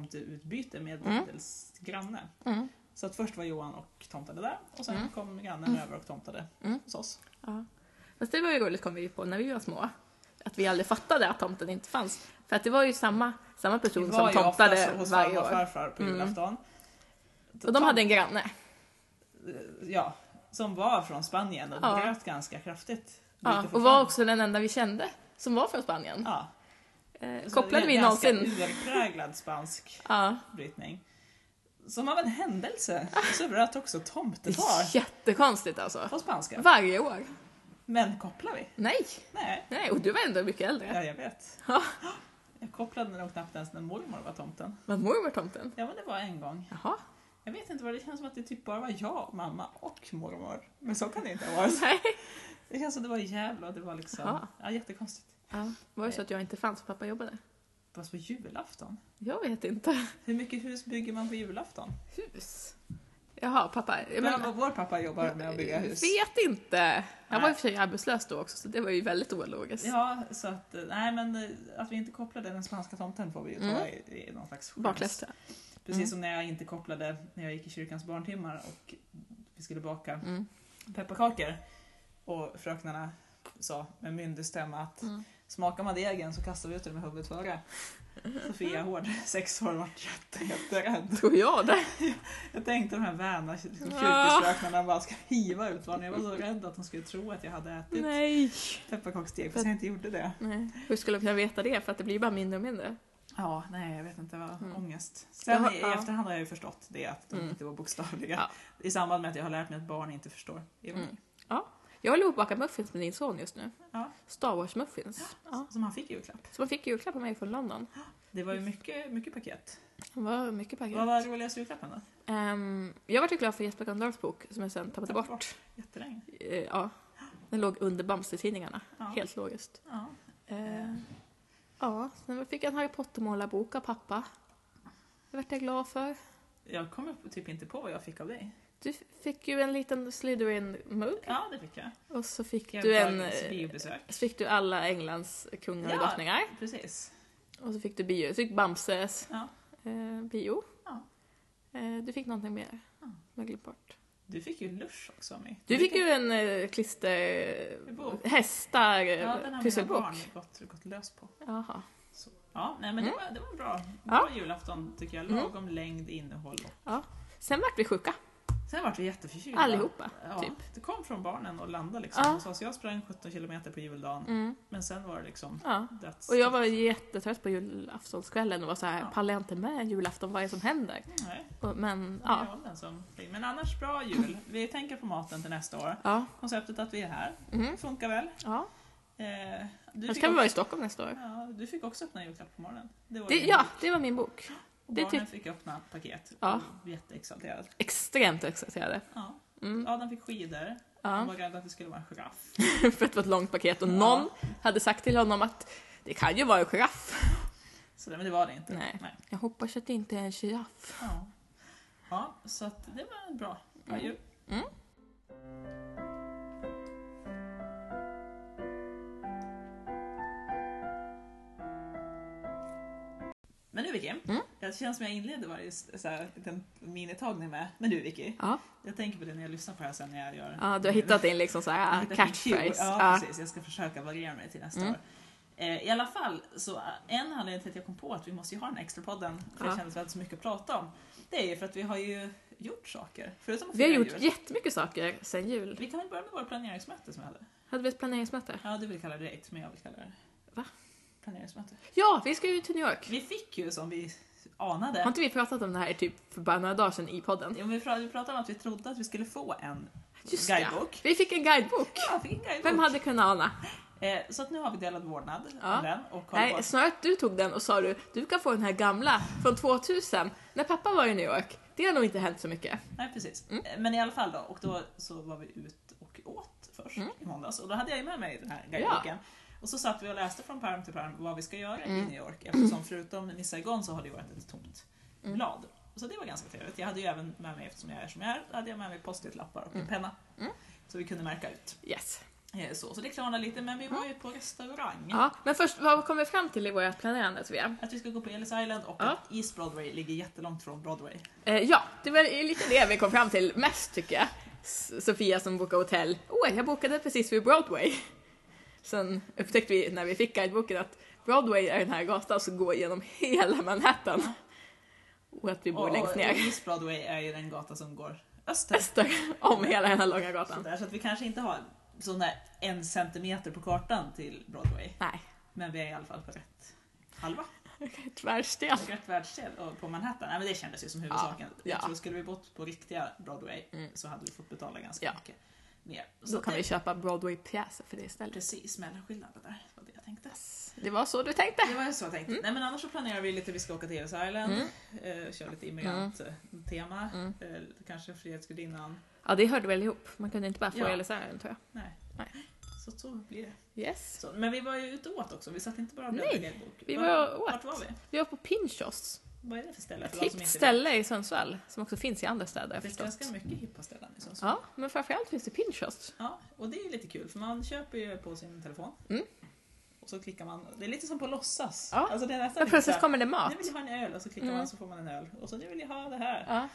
[SPEAKER 1] jultomteutbyte med
[SPEAKER 2] Mm.
[SPEAKER 1] Dildels granne.
[SPEAKER 2] Mm.
[SPEAKER 1] Så att först var Johan och tomtade där och sen kom grannen över och tomtade
[SPEAKER 2] Mm.
[SPEAKER 1] hos oss.
[SPEAKER 2] Ja. Fast det var ju roligt kom vi ju på när vi var små. Att vi aldrig fattade att tomten inte fanns. För att det var ju samma, samma
[SPEAKER 1] Vi var
[SPEAKER 2] person som
[SPEAKER 1] ju oftast
[SPEAKER 2] tomtade
[SPEAKER 1] hos
[SPEAKER 2] varje
[SPEAKER 1] farmor och
[SPEAKER 2] år. Mm.
[SPEAKER 1] farfar på julafton.
[SPEAKER 2] Och de hade en granne.
[SPEAKER 1] eh, Ja, som var från Spanien och
[SPEAKER 2] Ja.
[SPEAKER 1] bröt ganska kraftigt.
[SPEAKER 2] Ja,
[SPEAKER 1] Lite för
[SPEAKER 2] och var
[SPEAKER 1] fan.
[SPEAKER 2] också den enda vi kände som var från Spanien.
[SPEAKER 1] Ja.
[SPEAKER 2] Eh,
[SPEAKER 1] Så
[SPEAKER 2] kopplade
[SPEAKER 1] det är
[SPEAKER 2] vi
[SPEAKER 1] en ganska
[SPEAKER 2] någonsin?
[SPEAKER 1] urpräglad spansk
[SPEAKER 2] Ja.
[SPEAKER 1] brytning. Som av en händelse så bröt också
[SPEAKER 2] Det
[SPEAKER 1] tomtefar
[SPEAKER 2] är jättekonstigt alltså.
[SPEAKER 1] på spanska.
[SPEAKER 2] Varje år.
[SPEAKER 1] Men kopplar vi?
[SPEAKER 2] Nej,
[SPEAKER 1] Nej,
[SPEAKER 2] nej, och du var ändå mycket äldre.
[SPEAKER 1] ja, jag vet.
[SPEAKER 2] Ja.
[SPEAKER 1] Jag kopplade nog knappt ens när mormor var tomten.
[SPEAKER 2] Var mormor tomten?
[SPEAKER 1] Ja men det var en gång.
[SPEAKER 2] Jaha.
[SPEAKER 1] Jag vet inte vad det känns som att det typ bara var jag, mamma och mormor. Men så kan det inte ha varit.
[SPEAKER 2] Nej.
[SPEAKER 1] Det känns som det var i Gävle och det var liksom,
[SPEAKER 2] Jaha.
[SPEAKER 1] ja jättekonstigt.
[SPEAKER 2] Ja, var det så att jag inte fanns och pappa jobbade?
[SPEAKER 1] Fast på julafton?
[SPEAKER 2] Jag vet inte.
[SPEAKER 1] Hur mycket hus bygger man på julafton?
[SPEAKER 2] Hus? Jaha, pappa. Jag
[SPEAKER 1] Men,
[SPEAKER 2] menar-
[SPEAKER 1] vår pappa jobbar med att bygga hus.
[SPEAKER 2] Eh, Vet inte. Jag var
[SPEAKER 1] Nej.
[SPEAKER 2] i och för sig arbetslös då också så det var ju väldigt ologiskt.
[SPEAKER 1] Ja, så att, eh, nej men eh, att vi inte kopplade den spanska tomten får vi ju ta
[SPEAKER 2] Mm.
[SPEAKER 1] i, i någon slags skäms.
[SPEAKER 2] Baklästa.
[SPEAKER 1] Precis
[SPEAKER 2] Mm.
[SPEAKER 1] som när jag inte kopplade när jag gick i kyrkans barntimmar och vi skulle baka
[SPEAKER 2] Mm.
[SPEAKER 1] pepparkakor och fröknarna sa med myndig stämma att
[SPEAKER 2] Mm.
[SPEAKER 1] smakar man degen så kastar vi ut den med huvudet före. Sofia Hård, sex år, vart jätte, jätterädd.
[SPEAKER 2] Tror jag det.
[SPEAKER 1] Jag tänkte de här väna liksom,
[SPEAKER 2] Ja.
[SPEAKER 1] kyrkisfröknarna bara ska hiva ut varandra. Jag var så rädd att de skulle tro att jag hade ätit
[SPEAKER 2] Nej.
[SPEAKER 1] pepparkaksdeg fast jag inte gjorde det.
[SPEAKER 2] Nej. Hur skulle de kunna veta det? För att det blir bara mindre och mindre.
[SPEAKER 1] Ja, nej jag vet inte, det var
[SPEAKER 2] Mm.
[SPEAKER 1] ångest. Sen
[SPEAKER 2] har-
[SPEAKER 1] i
[SPEAKER 2] ja.
[SPEAKER 1] efterhand har jag ju förstått det att de
[SPEAKER 2] Mm.
[SPEAKER 1] inte var bokstavliga.
[SPEAKER 2] Ja.
[SPEAKER 1] I samband med att jag har lärt mig att barn inte förstår ironi.
[SPEAKER 2] Mm. Jag håller på att baka muffins med din son just nu.
[SPEAKER 1] Ja.
[SPEAKER 2] Star Wars muffins. Ja.
[SPEAKER 1] Som han fick i julklapp.
[SPEAKER 2] Så man fick julklapp av mig från London.
[SPEAKER 1] Det var ju mycket, mycket paket.
[SPEAKER 2] Det var mycket
[SPEAKER 1] Vad
[SPEAKER 2] paket.
[SPEAKER 1] var roligaste julklappen då?
[SPEAKER 2] Ehm, jag var ju glad för Jesper Gröndahls bok som jag sen tappade
[SPEAKER 1] Tappat
[SPEAKER 2] bort.
[SPEAKER 1] bort. Jättelänge.
[SPEAKER 2] Eh, ja. Den låg under Bamse-tidningarna.
[SPEAKER 1] Ja.
[SPEAKER 2] Helt logiskt.
[SPEAKER 1] Ja.
[SPEAKER 2] Eh, ja, sen fick jag en Harry Potter-målarbok av pappa. Det vart jag glad för.
[SPEAKER 1] Jag kommer typ inte på vad jag fick av dig.
[SPEAKER 2] Du fick ju en liten Slytherin-mugg
[SPEAKER 1] Ja, det fick jag.
[SPEAKER 2] och så fick
[SPEAKER 1] jag
[SPEAKER 2] du en...
[SPEAKER 1] ett
[SPEAKER 2] eh,
[SPEAKER 1] biobesök.
[SPEAKER 2] Så fick du alla Englands kungar och
[SPEAKER 1] Ja.
[SPEAKER 2] drottningar.
[SPEAKER 1] Precis.
[SPEAKER 2] Och så fick du bio. Så fick Bamses
[SPEAKER 1] Ja.
[SPEAKER 2] eh, bio.
[SPEAKER 1] Ja.
[SPEAKER 2] Eh, du fick någonting mer.
[SPEAKER 1] Ja.
[SPEAKER 2] som jag glömt bort.
[SPEAKER 1] Du fick ju lunch också av mig.
[SPEAKER 2] Du fick
[SPEAKER 1] kan-
[SPEAKER 2] ju en eh, klister...
[SPEAKER 1] Bok.
[SPEAKER 2] Hästar...
[SPEAKER 1] Ja, den har mina
[SPEAKER 2] pusselbok.
[SPEAKER 1] barn gått, gått lös på.
[SPEAKER 2] Jaha.
[SPEAKER 1] Så. Ja, nej, men det, var, det var bra.
[SPEAKER 2] Mm. Ja.
[SPEAKER 1] Bra julafton tycker jag.
[SPEAKER 2] Mm.
[SPEAKER 1] Lagom längd, innehåll och
[SPEAKER 2] Sen vart vi sjuka.
[SPEAKER 1] Sen vart vi jätteförkylda.
[SPEAKER 2] Allihopa.
[SPEAKER 1] Ja,
[SPEAKER 2] Typ.
[SPEAKER 1] Det kom från barnen och landade liksom
[SPEAKER 2] Ja.
[SPEAKER 1] hos oss. Jag sprang 17 kilometer på juldagen,
[SPEAKER 2] Mm.
[SPEAKER 1] men sen var det liksom
[SPEAKER 2] Ja.
[SPEAKER 1] döds...
[SPEAKER 2] Och jag var jättetrött på julaftonskvällen och var så här,
[SPEAKER 1] Ja.
[SPEAKER 2] pallar jag inte med en julafton, vad är det som händer?
[SPEAKER 1] Nej,
[SPEAKER 2] Och, men
[SPEAKER 1] ja.
[SPEAKER 2] ja.
[SPEAKER 1] jag var den som... Men annars bra jul. Vi tänker på maten till nästa år.
[SPEAKER 2] Ja.
[SPEAKER 1] Konceptet att vi är här
[SPEAKER 2] Mm.
[SPEAKER 1] funkar väl.
[SPEAKER 2] ja.
[SPEAKER 1] Eh, du,
[SPEAKER 2] Annars
[SPEAKER 1] fick
[SPEAKER 2] kan vi vara i
[SPEAKER 1] också,
[SPEAKER 2] Stockholm nästa år.
[SPEAKER 1] ja, du fick också öppna julklapp på morgonen. Det var
[SPEAKER 2] Det,
[SPEAKER 1] ju-
[SPEAKER 2] ja, det var min bok.
[SPEAKER 1] Och
[SPEAKER 2] det typ
[SPEAKER 1] barnen fick öppna paket.
[SPEAKER 2] Ja.
[SPEAKER 1] Jätteexalterad.
[SPEAKER 2] Extremt exalterade.
[SPEAKER 1] Ja.
[SPEAKER 2] Mm.
[SPEAKER 1] Adam fick skidor. Han
[SPEAKER 2] Ja.
[SPEAKER 1] var rädd att det skulle vara en giraff.
[SPEAKER 2] För att det var ett långt paket och
[SPEAKER 1] Ja.
[SPEAKER 2] någon hade sagt till honom att det kan ju vara en giraff.
[SPEAKER 1] Så det, men det var det inte.
[SPEAKER 2] Nej. Jag hoppas att det inte är en giraff.
[SPEAKER 1] Ja. ja, så att det var en bra, bra
[SPEAKER 2] Mm.
[SPEAKER 1] jul. Men nu Vicky,
[SPEAKER 2] Mm.
[SPEAKER 1] det känns som jag inleder varje s- så här, liten minitagning med. Men du Vicky,
[SPEAKER 2] Ja,
[SPEAKER 1] jag tänker på det när jag lyssnar på det här sen när jag gör...
[SPEAKER 2] ja du har hittat din liksom så
[SPEAKER 1] Jag hittar
[SPEAKER 2] här
[SPEAKER 1] min cue.
[SPEAKER 2] catchphrase.
[SPEAKER 1] Ja,
[SPEAKER 2] Ja.
[SPEAKER 1] precis. Jag ska försöka variera mig till nästa
[SPEAKER 2] Mm.
[SPEAKER 1] år. Eh, I alla fall, så eh, en anledning till att jag kom på att vi måste ju ha den här extra podden, för det
[SPEAKER 2] Ja.
[SPEAKER 1] kändes väldigt så mycket att prata om, det är ju för att vi har ju gjort saker. Förutom att
[SPEAKER 2] Vi har
[SPEAKER 1] fira
[SPEAKER 2] gjort
[SPEAKER 1] jul.
[SPEAKER 2] jättemycket saker sen jul.
[SPEAKER 1] Vi kan väl börja med vårt planeringsmöte som vi hade.
[SPEAKER 2] Hade vi ett planeringsmöte?
[SPEAKER 1] Ja, du vill kalla det date, men jag vill kalla det
[SPEAKER 2] Va?
[SPEAKER 1] planeringsmöte.
[SPEAKER 2] Ja, vi ska ju till New York.
[SPEAKER 1] Vi fick ju som vi
[SPEAKER 2] Har
[SPEAKER 1] anade,
[SPEAKER 2] inte vi pratat om det här typ för bara några dagar sedan i podden?
[SPEAKER 1] ja, men vi pratade vi pratade om att vi trodde att vi skulle få en
[SPEAKER 2] Just
[SPEAKER 1] guidebok.
[SPEAKER 2] det, vi fick en guidebok.
[SPEAKER 1] Ja, vi fick en guidebok.
[SPEAKER 2] Vem hade kunnat ana?
[SPEAKER 1] eh, så att nu har vi delad vårdnad
[SPEAKER 2] Ja.
[SPEAKER 1] om den och kollat på
[SPEAKER 2] Nej, snarare att du tog den och sa du, du kan få den här gamla från 2000, när pappa var i New York. Det har nog inte hänt så mycket.
[SPEAKER 1] Nej precis.
[SPEAKER 2] Mm.
[SPEAKER 1] Eh, Men i alla fall då, och då så var vi ut och åt först
[SPEAKER 2] Mm.
[SPEAKER 1] i måndags och då hade jag ju med mig den här guideboken. Och så satt vi och läste från pärm till pärm vad vi ska göra i
[SPEAKER 2] Mm.
[SPEAKER 1] New York eftersom förutom Nissa Saigon så har det ju varit ett tomt
[SPEAKER 2] Mm.
[SPEAKER 1] blad. Så det var ganska trevligt. Jag hade ju även med mig, eftersom jag är som jag är, hade jag med mig post-it-lappar och en penna.
[SPEAKER 2] Mm.
[SPEAKER 1] Så vi kunde märka ut.
[SPEAKER 2] Yes.
[SPEAKER 1] Eh, Så, så det klarnade lite, men vi var ju på restaurang.
[SPEAKER 2] Mm. Ja, men först, vad kom vi fram till i vårt planerande Sofia?
[SPEAKER 1] Att vi ska gå på Ellis Island och
[SPEAKER 2] Ja.
[SPEAKER 1] att East Broadway ligger jättelångt från Broadway.
[SPEAKER 2] Eh, ja, det var ju lite det vi kom fram till mest tycker jag. S- Sofia som bokade hotell. Åh, jag bokade precis vid Broadway. Sen upptäckte vi när vi fick guideboken att Broadway är den här gatan som går genom hela Manhattan. Och att vi bor
[SPEAKER 1] Och-
[SPEAKER 2] längst ner.
[SPEAKER 1] Och East Broadway är ju den gata som går öster.
[SPEAKER 2] Öster om hela den här långa gatan.
[SPEAKER 1] Sådär, så att vi kanske inte har sån där en centimeter på kartan till Broadway.
[SPEAKER 2] Nej,
[SPEAKER 1] Men vi är i alla fall på rätt halva.
[SPEAKER 2] tvärsten.
[SPEAKER 1] Och rätt världsdel och på Manhattan. Nej, men det kändes ju som huvudsaken.
[SPEAKER 2] Ja, ja.
[SPEAKER 1] Jag tror skulle vi bott på riktiga Broadway
[SPEAKER 2] Mm.
[SPEAKER 1] så hade vi fått betala ganska
[SPEAKER 2] Ja.
[SPEAKER 1] mycket mer. Så
[SPEAKER 2] Då kan
[SPEAKER 1] det,
[SPEAKER 2] vi köpa Broadway-pjäser för det istället.
[SPEAKER 1] Precis, mellanskillnaden där var det jag tänkte.
[SPEAKER 2] Alltså. Det var så du tänkte?
[SPEAKER 1] Det var ju så jag
[SPEAKER 2] Mm.
[SPEAKER 1] tänkte. Nej men annars så planerar vi lite, vi ska åka till Ellis Island, eh, köra lite immigrant-tema,
[SPEAKER 2] Mm.
[SPEAKER 1] eh, kanske Frihetsgudinnan.
[SPEAKER 2] Ja, det hörde väl ihop. Man kunde inte bara få
[SPEAKER 1] Ja.
[SPEAKER 2] LSR tror jag.
[SPEAKER 1] Nej.
[SPEAKER 2] Nej.
[SPEAKER 1] Så så blir det.
[SPEAKER 2] Yes.
[SPEAKER 1] Så, men vi var ju ute och åt också, vi satt inte bara och
[SPEAKER 2] Nej,
[SPEAKER 1] bläddrade i en bok.
[SPEAKER 2] vi
[SPEAKER 1] Var-
[SPEAKER 2] var och åt.
[SPEAKER 1] Vart var vi?
[SPEAKER 2] Vi var på Pinchos.
[SPEAKER 1] Vad är det för ställe?
[SPEAKER 2] Ett
[SPEAKER 1] För de som
[SPEAKER 2] hippt
[SPEAKER 1] inte vet?
[SPEAKER 2] ställe i Sundsvall som också finns i andra städer har
[SPEAKER 1] Det
[SPEAKER 2] jag
[SPEAKER 1] finns
[SPEAKER 2] förstått.
[SPEAKER 1] ganska mycket hippa ställen i Sundsvall.
[SPEAKER 2] Ja, men framförallt finns det Pinchos.
[SPEAKER 1] Ja, och det är ju lite kul för man köper ju på sin telefon.
[SPEAKER 2] Mm.
[SPEAKER 1] Och så klickar man, det är lite som på låtsas.
[SPEAKER 2] Ja.
[SPEAKER 1] Alltså det är nästan
[SPEAKER 2] Men
[SPEAKER 1] lite
[SPEAKER 2] plötsligt
[SPEAKER 1] såhär,
[SPEAKER 2] kommer det mat.
[SPEAKER 1] Nu vill jag ha en öl och så klickar
[SPEAKER 2] Mm.
[SPEAKER 1] man så får man en öl. Och så nu vill jag ha det här.
[SPEAKER 2] Ja.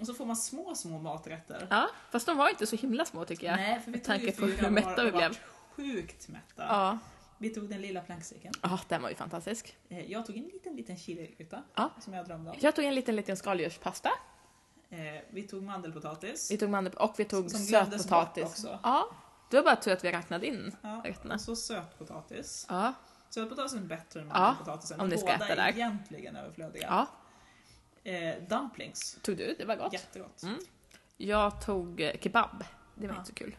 [SPEAKER 1] Och så får man små, små maträtter.
[SPEAKER 2] ja, fast de var inte så himla små tycker jag.
[SPEAKER 1] Nej, för vi
[SPEAKER 2] Med
[SPEAKER 1] tog ju
[SPEAKER 2] tanke på
[SPEAKER 1] fyra
[SPEAKER 2] hur mätta
[SPEAKER 1] var och
[SPEAKER 2] vi blev.
[SPEAKER 1] vart Sjukt mätta.
[SPEAKER 2] Ja.
[SPEAKER 1] Vi tog den lilla planksäcken.
[SPEAKER 2] ja, den var ju fantastisk.
[SPEAKER 1] Eh, Jag tog en liten, liten chiliruta
[SPEAKER 2] Ja.
[SPEAKER 1] som jag drömde om.
[SPEAKER 2] Jag tog en liten, liten skaldjurspasta.
[SPEAKER 1] Eh, Vi tog mandelpotatis.
[SPEAKER 2] Vi tog mandel och vi tog
[SPEAKER 1] Som glömdes bort
[SPEAKER 2] sötpotatis.
[SPEAKER 1] också.
[SPEAKER 2] Ja, det var bara tur att vi räknade in
[SPEAKER 1] Ja,
[SPEAKER 2] rätterna.
[SPEAKER 1] och så sötpotatis.
[SPEAKER 2] Ja,
[SPEAKER 1] Sötpotatisen är bättre än
[SPEAKER 2] Ja,
[SPEAKER 1] mandelpotatisen.
[SPEAKER 2] om ni ska
[SPEAKER 1] Båda
[SPEAKER 2] äta
[SPEAKER 1] är
[SPEAKER 2] där.
[SPEAKER 1] egentligen överflödiga.
[SPEAKER 2] ja.
[SPEAKER 1] Eh, dumplings.
[SPEAKER 2] Tog du? Det var gott.
[SPEAKER 1] Jättegott.
[SPEAKER 2] Mm. Jag tog eh, kebab. Det var
[SPEAKER 1] Ja.
[SPEAKER 2] inte så kul.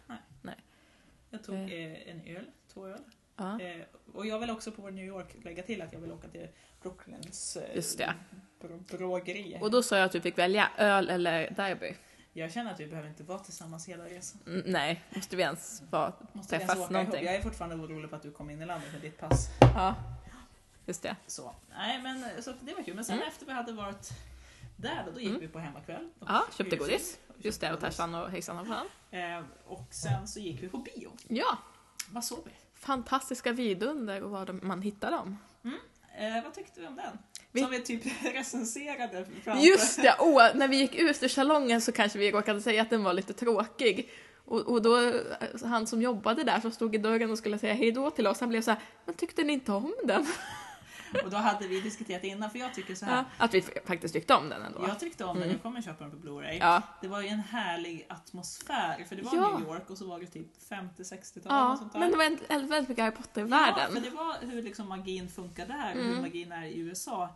[SPEAKER 1] Jag tog
[SPEAKER 2] Eh.
[SPEAKER 1] eh, en öl, två öl.
[SPEAKER 2] Ja.
[SPEAKER 1] Eh, och jag vill också på New York lägga till att jag vill åka till Brooklyns eh,
[SPEAKER 2] Just det.
[SPEAKER 1] bro- brågeri.
[SPEAKER 2] Och då sa jag att du fick välja öl eller derby.
[SPEAKER 1] Jag känner att vi behöver inte vara tillsammans hela resan.
[SPEAKER 2] Mm, nej, måste vi ens vara...
[SPEAKER 1] Måste vi ens
[SPEAKER 2] Träffas
[SPEAKER 1] åka
[SPEAKER 2] någonting.
[SPEAKER 1] ihop? Jag är fortfarande orolig för att du kom in i landet med ditt pass.
[SPEAKER 2] Ja, just det.
[SPEAKER 1] Så, nej, men, eh, så det var kul. Men sen
[SPEAKER 2] Mm.
[SPEAKER 1] efter vi hade varit där då, då gick
[SPEAKER 2] Mm.
[SPEAKER 1] vi på hemmakväll. och
[SPEAKER 2] Ja, köpte
[SPEAKER 1] hyrde
[SPEAKER 2] godis.
[SPEAKER 1] film och köpte
[SPEAKER 2] Just det, och
[SPEAKER 1] godis.
[SPEAKER 2] Tarzan och hejsan och fan.
[SPEAKER 1] Eh, och sen så gick vi på bio.
[SPEAKER 2] Ja,
[SPEAKER 1] Vad såg vi?
[SPEAKER 2] fantastiska vidunder och var de, man hittar dem.
[SPEAKER 1] Eh, vad tyckte vi om den?
[SPEAKER 2] Vi-
[SPEAKER 1] Som vi typ recenserade framför.
[SPEAKER 2] Just det! Åh, när vi gick ut ur salongen så kanske vi råkade säga att den var lite tråkig. Och, och då, eh, han som jobbade där, som stod i dörren och skulle säga hej då till oss, han blev så här, men tyckte ni inte om den?
[SPEAKER 1] Och då hade vi diskuterat innan, för jag tycker så här.
[SPEAKER 2] Ja, att vi f- faktiskt tyckte om den ändå.
[SPEAKER 1] Jag tyckte om den, jag kommer köpa den på Blu-ray.
[SPEAKER 2] Mm. Ja,
[SPEAKER 1] Det var ju en härlig atmosfär, för det var
[SPEAKER 2] Ja.
[SPEAKER 1] New York och så var det typ 50-60-tal.
[SPEAKER 2] ja
[SPEAKER 1] och sånt där.
[SPEAKER 2] men det var en, en väldigt mycket Harry
[SPEAKER 1] Ja, men
[SPEAKER 2] Potter-världen.
[SPEAKER 1] det var hur liksom magin funkar där och hur
[SPEAKER 2] Mm.
[SPEAKER 1] magin är i USA.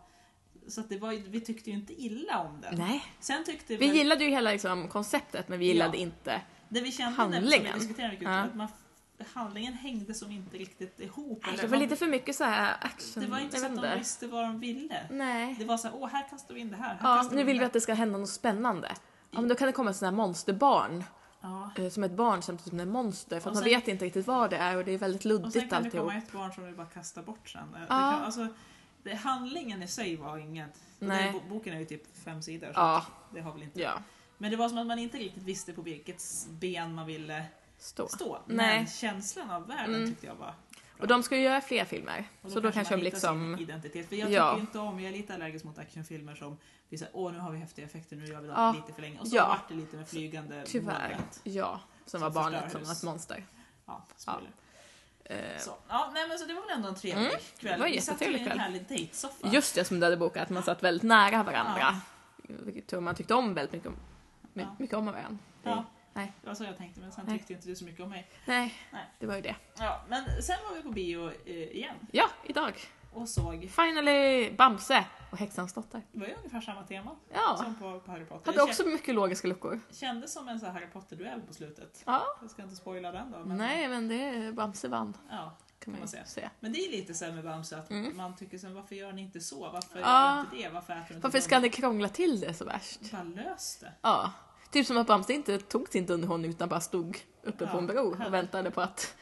[SPEAKER 1] Så att det var, ju- vi tyckte ju inte illa om den.
[SPEAKER 2] Nej.
[SPEAKER 1] Sen tyckte
[SPEAKER 2] Vi
[SPEAKER 1] vi,
[SPEAKER 2] gillade ju hela liksom, konceptet men vi gillade
[SPEAKER 1] Ja.
[SPEAKER 2] inte...
[SPEAKER 1] det vi kände när
[SPEAKER 2] handlingen.
[SPEAKER 1] vi diskuterade mycket,
[SPEAKER 2] Ja.
[SPEAKER 1] att man, handlingen hängde som inte riktigt ihop.
[SPEAKER 2] Nej,
[SPEAKER 1] eller
[SPEAKER 2] det var
[SPEAKER 1] man-
[SPEAKER 2] lite för mycket så här action.
[SPEAKER 1] det var inte
[SPEAKER 2] jag
[SPEAKER 1] så
[SPEAKER 2] vet
[SPEAKER 1] att de visste vad de ville.
[SPEAKER 2] Nej.
[SPEAKER 1] Det var så här, åh här kastar vi in det här. här
[SPEAKER 2] Ja,
[SPEAKER 1] kastar
[SPEAKER 2] nu
[SPEAKER 1] in
[SPEAKER 2] vill
[SPEAKER 1] det
[SPEAKER 2] vi
[SPEAKER 1] här."
[SPEAKER 2] att det ska hända något spännande. Ja, men då kan det komma sådana här monsterbarn.
[SPEAKER 1] Ja.
[SPEAKER 2] eh, Som ett barn samtidigt som ett monster. För
[SPEAKER 1] Och
[SPEAKER 2] att man
[SPEAKER 1] sen-
[SPEAKER 2] vet inte riktigt vad det är och det är väldigt
[SPEAKER 1] Och sen
[SPEAKER 2] luddigt
[SPEAKER 1] kan det
[SPEAKER 2] alltihop.
[SPEAKER 1] komma ett barn som du bara kastar bort sen. Det
[SPEAKER 2] Ja.
[SPEAKER 1] kan, alltså, det, handlingen i sig var inget. Och
[SPEAKER 2] Nej.
[SPEAKER 1] Den, bo- boken är ju typ fem sidor. Så
[SPEAKER 2] Ja,
[SPEAKER 1] det har väl inte.
[SPEAKER 2] ja.
[SPEAKER 1] Men det var som att man inte riktigt visste på vilket ben man ville
[SPEAKER 2] Stå.
[SPEAKER 1] stå.
[SPEAKER 2] Nej.
[SPEAKER 1] Men känslan av världen
[SPEAKER 2] Mm.
[SPEAKER 1] tyckte jag var...
[SPEAKER 2] Och de ska ju göra fler filmer.
[SPEAKER 1] och
[SPEAKER 2] så då kanske
[SPEAKER 1] man
[SPEAKER 2] de
[SPEAKER 1] hittar
[SPEAKER 2] liksom...
[SPEAKER 1] sin Identitet. För jag
[SPEAKER 2] Ja.
[SPEAKER 1] tycker inte om, jag är lite allergisk mot actionfilmer som blir såhär, åh nu har vi häftiga effekter, nu gör vi det
[SPEAKER 2] Ja.
[SPEAKER 1] lite för länge. Och så
[SPEAKER 2] Ja.
[SPEAKER 1] vart det lite med flygande
[SPEAKER 2] Tyvärr.
[SPEAKER 1] molnet.
[SPEAKER 2] Ja,
[SPEAKER 1] Som
[SPEAKER 2] som var barnet
[SPEAKER 1] förstör
[SPEAKER 2] som
[SPEAKER 1] hus.
[SPEAKER 2] var ett monster.
[SPEAKER 1] Ja, spoiler.
[SPEAKER 2] Eh,
[SPEAKER 1] Så, ja, nej, men så det var väl ändå en trevlig
[SPEAKER 2] Mm,
[SPEAKER 1] kväll.
[SPEAKER 2] det var
[SPEAKER 1] vi satt ju i
[SPEAKER 2] jättetrevlig
[SPEAKER 1] en
[SPEAKER 2] kväll.
[SPEAKER 1] härlig dejtsoffa.
[SPEAKER 2] Just det, som du hade bokat. Man satt väldigt nära varandra. Vilket man tyckte om väldigt mycket om, my-
[SPEAKER 1] Ja.
[SPEAKER 2] mycket om varandra.
[SPEAKER 1] Ja.
[SPEAKER 2] Nej.
[SPEAKER 1] Det var så jag tänkte, men sen
[SPEAKER 2] Nej.
[SPEAKER 1] tyckte inte du så mycket om mig.
[SPEAKER 2] Nej,
[SPEAKER 1] Nej.
[SPEAKER 2] det var ju det.
[SPEAKER 1] Ja, men sen var vi på bio eh, igen
[SPEAKER 2] Ja, idag.
[SPEAKER 1] och såg,
[SPEAKER 2] Finally Bamse och Häxans dotter.
[SPEAKER 1] det var ju ungefär samma tema
[SPEAKER 2] Ja,
[SPEAKER 1] som på, på Harry Potter.
[SPEAKER 2] hade också mycket logiska luckor.
[SPEAKER 1] Kän- Kändes som en så här Harry Potter-duell på slutet.
[SPEAKER 2] Ja.
[SPEAKER 1] Jag ska inte spoila den då. Men,
[SPEAKER 2] Nej, men det Bamse vann
[SPEAKER 1] Ja.
[SPEAKER 2] kan man ju
[SPEAKER 1] Får man
[SPEAKER 2] säga.
[SPEAKER 1] men det är lite så här med Bamse att
[SPEAKER 2] Mm.
[SPEAKER 1] man tycker sen varför gör ni inte så? Varför gör
[SPEAKER 2] Ja.
[SPEAKER 1] ni inte det? Varför äter ni inte
[SPEAKER 2] Varför
[SPEAKER 1] de-
[SPEAKER 2] ska ni krångla till det så värst?
[SPEAKER 1] Bara lös det.
[SPEAKER 2] Ja, typ som att Bamse inte tog sin underhållning utan bara stod uppe på en bro
[SPEAKER 1] Ja.
[SPEAKER 2] och väntade på att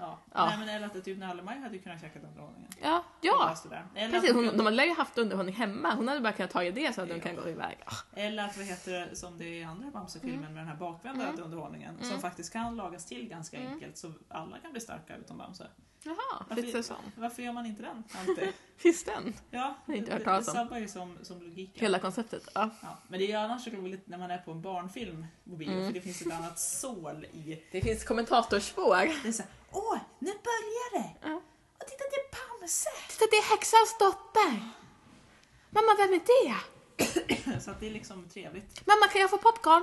[SPEAKER 1] Ja.
[SPEAKER 2] Ja.
[SPEAKER 1] Nej, men eller att det typ Nallemaj hade ju kunnrat käkat underhållningen.
[SPEAKER 2] Ja,
[SPEAKER 1] Och
[SPEAKER 2] ja.
[SPEAKER 1] läst det där. Eller,
[SPEAKER 2] Precis,
[SPEAKER 1] att,
[SPEAKER 2] hon, de lär ju haft underhållning hemma. Hon hade bara kunnat ta i det så att de
[SPEAKER 1] Ja.
[SPEAKER 2] kan gå iväg. Ah,
[SPEAKER 1] eller att, vad heter det, som det är i andra Bamse-filmen
[SPEAKER 2] Mm.
[SPEAKER 1] med den här bakvända underhållningen som faktiskt kan lagas till ganska
[SPEAKER 2] Mm.
[SPEAKER 1] enkelt så alla kan bli starka utom Bamse.
[SPEAKER 2] Jaha,
[SPEAKER 1] Varför-
[SPEAKER 2] finns det sån?
[SPEAKER 1] Varför gör man inte den alltid?
[SPEAKER 2] Finns den?
[SPEAKER 1] Ja,
[SPEAKER 2] Jag har inte hört
[SPEAKER 1] det-
[SPEAKER 2] talas
[SPEAKER 1] det
[SPEAKER 2] om.
[SPEAKER 1] sabbar ju som, som logiken.
[SPEAKER 2] Hela konceptet. Ja,
[SPEAKER 1] Ja, men det är ju annars roligt när man är på en barnfilm på bio
[SPEAKER 2] Mm.
[SPEAKER 1] för det finns ett annat sål i.
[SPEAKER 2] Det finns kommentatorsspår.
[SPEAKER 1] Det är såhär, åh, nu börjar det!
[SPEAKER 2] Ja.
[SPEAKER 1] Och titta, det är Bamse!
[SPEAKER 2] Titta, det är häxans dotter! Mamma, vem är det?
[SPEAKER 1] Så att det är liksom trevligt.
[SPEAKER 2] Mamma, kan jag få popcorn?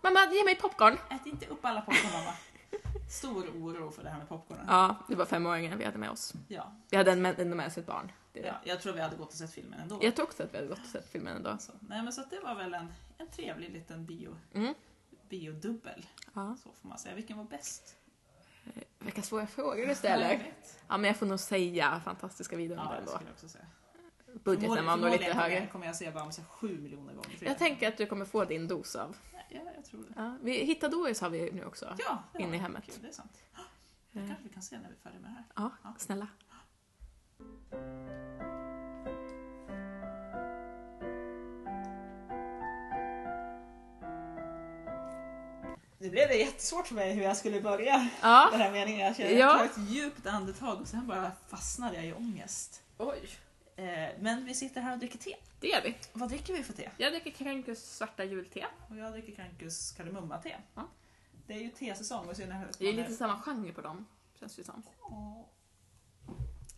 [SPEAKER 2] Mamma, ge mig popcorn!
[SPEAKER 1] Ät inte upp alla popcorn mamma. Stor oro för det här med popcornen. Ja.
[SPEAKER 2] Ja, det var femåringen vi hade med oss.
[SPEAKER 1] Ja,
[SPEAKER 2] Vi hade en- ändå med oss ett barn. Det är det.
[SPEAKER 1] jag tror vi hade gått och sett filmen ändå.
[SPEAKER 2] Jag tror också att vi hade gått och sett filmen ändå.
[SPEAKER 1] Så, Alltså, nej, men så att det var väl en, en trevlig liten bio,
[SPEAKER 2] Mm.
[SPEAKER 1] biodubbel.
[SPEAKER 2] Ja.
[SPEAKER 1] Så får man säga. Vilken var bäst?
[SPEAKER 2] Vilka svåra frågor du
[SPEAKER 1] Ja, jag
[SPEAKER 2] ställer.
[SPEAKER 1] vet.
[SPEAKER 2] Ja, men jag får nog säga fantastiska videon
[SPEAKER 1] Ja,
[SPEAKER 2] där
[SPEAKER 1] det
[SPEAKER 2] ändå.
[SPEAKER 1] skulle jag också säga.
[SPEAKER 2] Budgeten var nog lite
[SPEAKER 1] Förmodligen kommer
[SPEAKER 2] högre.
[SPEAKER 1] jag- kommer jag se Bamse sju miljoner gånger. tror
[SPEAKER 2] Jag tänker att du kommer få din dos av.
[SPEAKER 1] Nej, Ja, jag tror det.
[SPEAKER 2] Ja, vi, Hitta Doris har vi ju nu också.
[SPEAKER 1] Ja, det
[SPEAKER 2] In
[SPEAKER 1] var
[SPEAKER 2] i
[SPEAKER 1] det.
[SPEAKER 2] hemmet.
[SPEAKER 1] Kul, det är sant. Det kanske vi kan se när vi är färdiga med det här.
[SPEAKER 2] Ja, snälla.
[SPEAKER 1] Nu blev det jättesvårt för mig hur jag skulle börja
[SPEAKER 2] Ja.
[SPEAKER 1] den här meningen. Jag kände
[SPEAKER 2] Ja.
[SPEAKER 1] jag tog ett djupt andetag och sen bara fastnade jag i ångest.
[SPEAKER 2] Oj.
[SPEAKER 1] Eh, Men vi sitter här och dricker te.
[SPEAKER 2] Det gör vi.
[SPEAKER 1] Vad dricker vi för te?
[SPEAKER 2] Jag dricker Krenkus svarta julte.
[SPEAKER 1] Och jag dricker Krankus kardemummate.
[SPEAKER 2] Ja.
[SPEAKER 1] Det är ju tesäsong och i synnerhet
[SPEAKER 2] Det är lite samma genre på dem, känns det som.
[SPEAKER 1] Åh.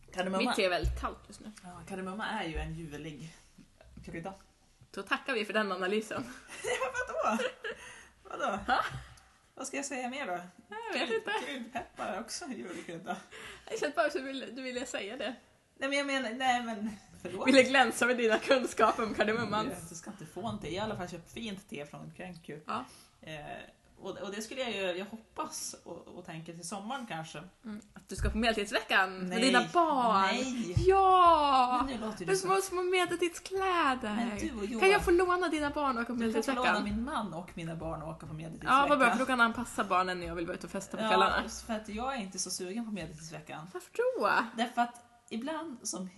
[SPEAKER 2] Mitt
[SPEAKER 1] Kardemumma.
[SPEAKER 2] te är väldigt kallt just nu.
[SPEAKER 1] Ja, kardemumma är ju en ljuvlig krydda.
[SPEAKER 2] Då tackar vi för den analysen.
[SPEAKER 1] Ja, vadå? Vadå? Vad ska jag säga mer då?
[SPEAKER 2] Jag vet inte.
[SPEAKER 1] Kryddpeppar är också en ljuvlig krydda.
[SPEAKER 2] Jag kände bara att du ville, du ville säga det.
[SPEAKER 1] Nej men jag menar, nej men förlåt.
[SPEAKER 2] ville glänsa med dina kunskaper om kardemumman.
[SPEAKER 1] Du ska inte få en te. Jag har i alla fall köpt fint te från Kränku.
[SPEAKER 2] Ja.
[SPEAKER 1] Eh, och, och det skulle jag ju, jag hoppas och, och tänker till sommaren kanske.
[SPEAKER 2] Att du ska på Medeltidsveckan med
[SPEAKER 1] Nej.
[SPEAKER 2] Mm. dina barn.
[SPEAKER 1] Nej!
[SPEAKER 2] Ja!
[SPEAKER 1] Men nu låter du
[SPEAKER 2] Med små,
[SPEAKER 1] så.
[SPEAKER 2] små medeltidskläder.
[SPEAKER 1] Men du och Johan-
[SPEAKER 2] Kan jag få låna dina barn och åka på
[SPEAKER 1] Du kan förlåna
[SPEAKER 2] Medeltidsveckan?
[SPEAKER 1] min man och mina barn och åka på medeltidsveckan.
[SPEAKER 2] Ja, vad bra, för då kan han passa barnen när jag vill vara ute och festa på kvällarna.
[SPEAKER 1] Ja, för att jag är inte så sugen på medeltidsveckan.
[SPEAKER 2] Varför då?
[SPEAKER 1] Därför att ibland som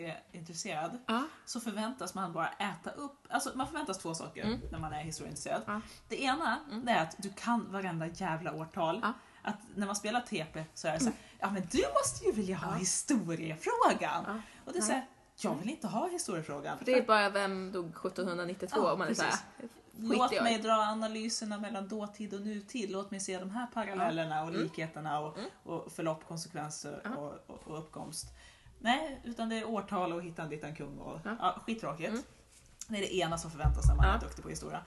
[SPEAKER 1] historieintresserad
[SPEAKER 2] Ja.
[SPEAKER 1] så förväntas man bara äta upp, alltså man förväntas två saker
[SPEAKER 2] Mm.
[SPEAKER 1] när man är historieintresserad.
[SPEAKER 2] Ja. Mm.
[SPEAKER 1] Det ena det är att du kan varenda jävla årtal.
[SPEAKER 2] Ja. Mm.
[SPEAKER 1] Att när man spelar TP så är det så här, ja men du måste ju vilja ha historiefrågan.
[SPEAKER 2] Ja.
[SPEAKER 1] Och det är så här, jag vill inte ha historiefrågan.
[SPEAKER 2] För det är bara vem dog 1792
[SPEAKER 1] Ja,
[SPEAKER 2] om man är såhär,
[SPEAKER 1] precis.
[SPEAKER 2] skit i
[SPEAKER 1] Låt
[SPEAKER 2] år.
[SPEAKER 1] mig dra analyserna mellan dåtid och nutid. Låt mig se de här parallellerna
[SPEAKER 2] Mm.
[SPEAKER 1] och likheterna och, och förlopp, konsekvenser
[SPEAKER 2] Ja.
[SPEAKER 1] och, och, och uppkomst. Nej, utan det är årtal och hittan dittan kung och
[SPEAKER 2] Ja.
[SPEAKER 1] ja. skittråkigt. Det är det ena som förväntas när man
[SPEAKER 2] Ja.
[SPEAKER 1] är duktig på historia.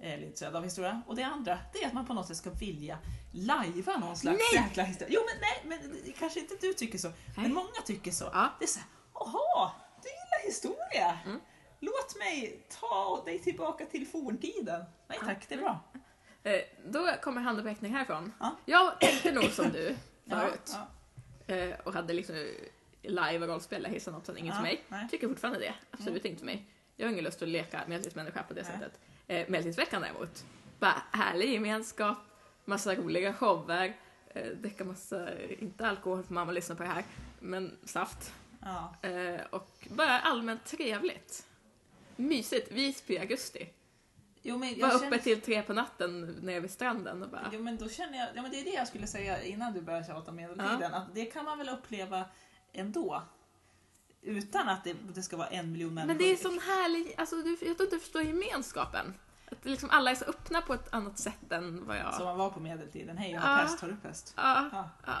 [SPEAKER 1] Eller intresserad av historia. Och det andra, det är att man på något sätt ska vilja lajva någon slags
[SPEAKER 2] Nej!
[SPEAKER 1] jäkla historia. Jo men nej, men det- kanske inte du tycker så.
[SPEAKER 2] Nej.
[SPEAKER 1] Men många tycker så.
[SPEAKER 2] Ja. Mm.
[SPEAKER 1] Det är såhär, jaha, du gillar historia. Låt mig ta dig tillbaka till forntiden. Nej tack, det är bra.
[SPEAKER 2] Eh, Då kommer handuppräckning härifrån.
[SPEAKER 1] Ja.
[SPEAKER 2] Jag tänkte nog som du
[SPEAKER 1] Ja,
[SPEAKER 2] förut.
[SPEAKER 1] ja.
[SPEAKER 2] Eh, Och hade liksom live och rollspel, hissan hoppsan, inget
[SPEAKER 1] Ja,
[SPEAKER 2] för mig.
[SPEAKER 1] nej. Mm.
[SPEAKER 2] Tycker fortfarande det, absolut inte för mig. Jag har ingen lust att leka medeltidsmänniska på det
[SPEAKER 1] Nej.
[SPEAKER 2] sättet. Eh, Medeltidsveckan däremot, bara härlig gemenskap, massa roliga shower, eh, dricka massa, inte alkohol för mamma lyssnar på det här, men saft.
[SPEAKER 1] Ja.
[SPEAKER 2] Eh, Och bara allmänt trevligt. Mysigt, Visby i augusti.
[SPEAKER 1] Jo, men jag
[SPEAKER 2] Var
[SPEAKER 1] känner-
[SPEAKER 2] uppe till tre på natten nere vid stranden och bara...
[SPEAKER 1] Jo men då känner jag, ja men det är det jag skulle säga innan du började tjata om medeltiden, att det kan man väl uppleva ändå. Utan att det, det ska vara en miljon människor.
[SPEAKER 2] Men det är sån härlig, alltså du, jag tror inte du förstår gemenskapen. Att det liksom alla är så öppna på ett annat sätt än vad jag...
[SPEAKER 1] Som man var på medeltiden, hej jag
[SPEAKER 2] Ja.
[SPEAKER 1] har pest, har du pest?
[SPEAKER 2] Ja,
[SPEAKER 1] Ja,
[SPEAKER 2] ja.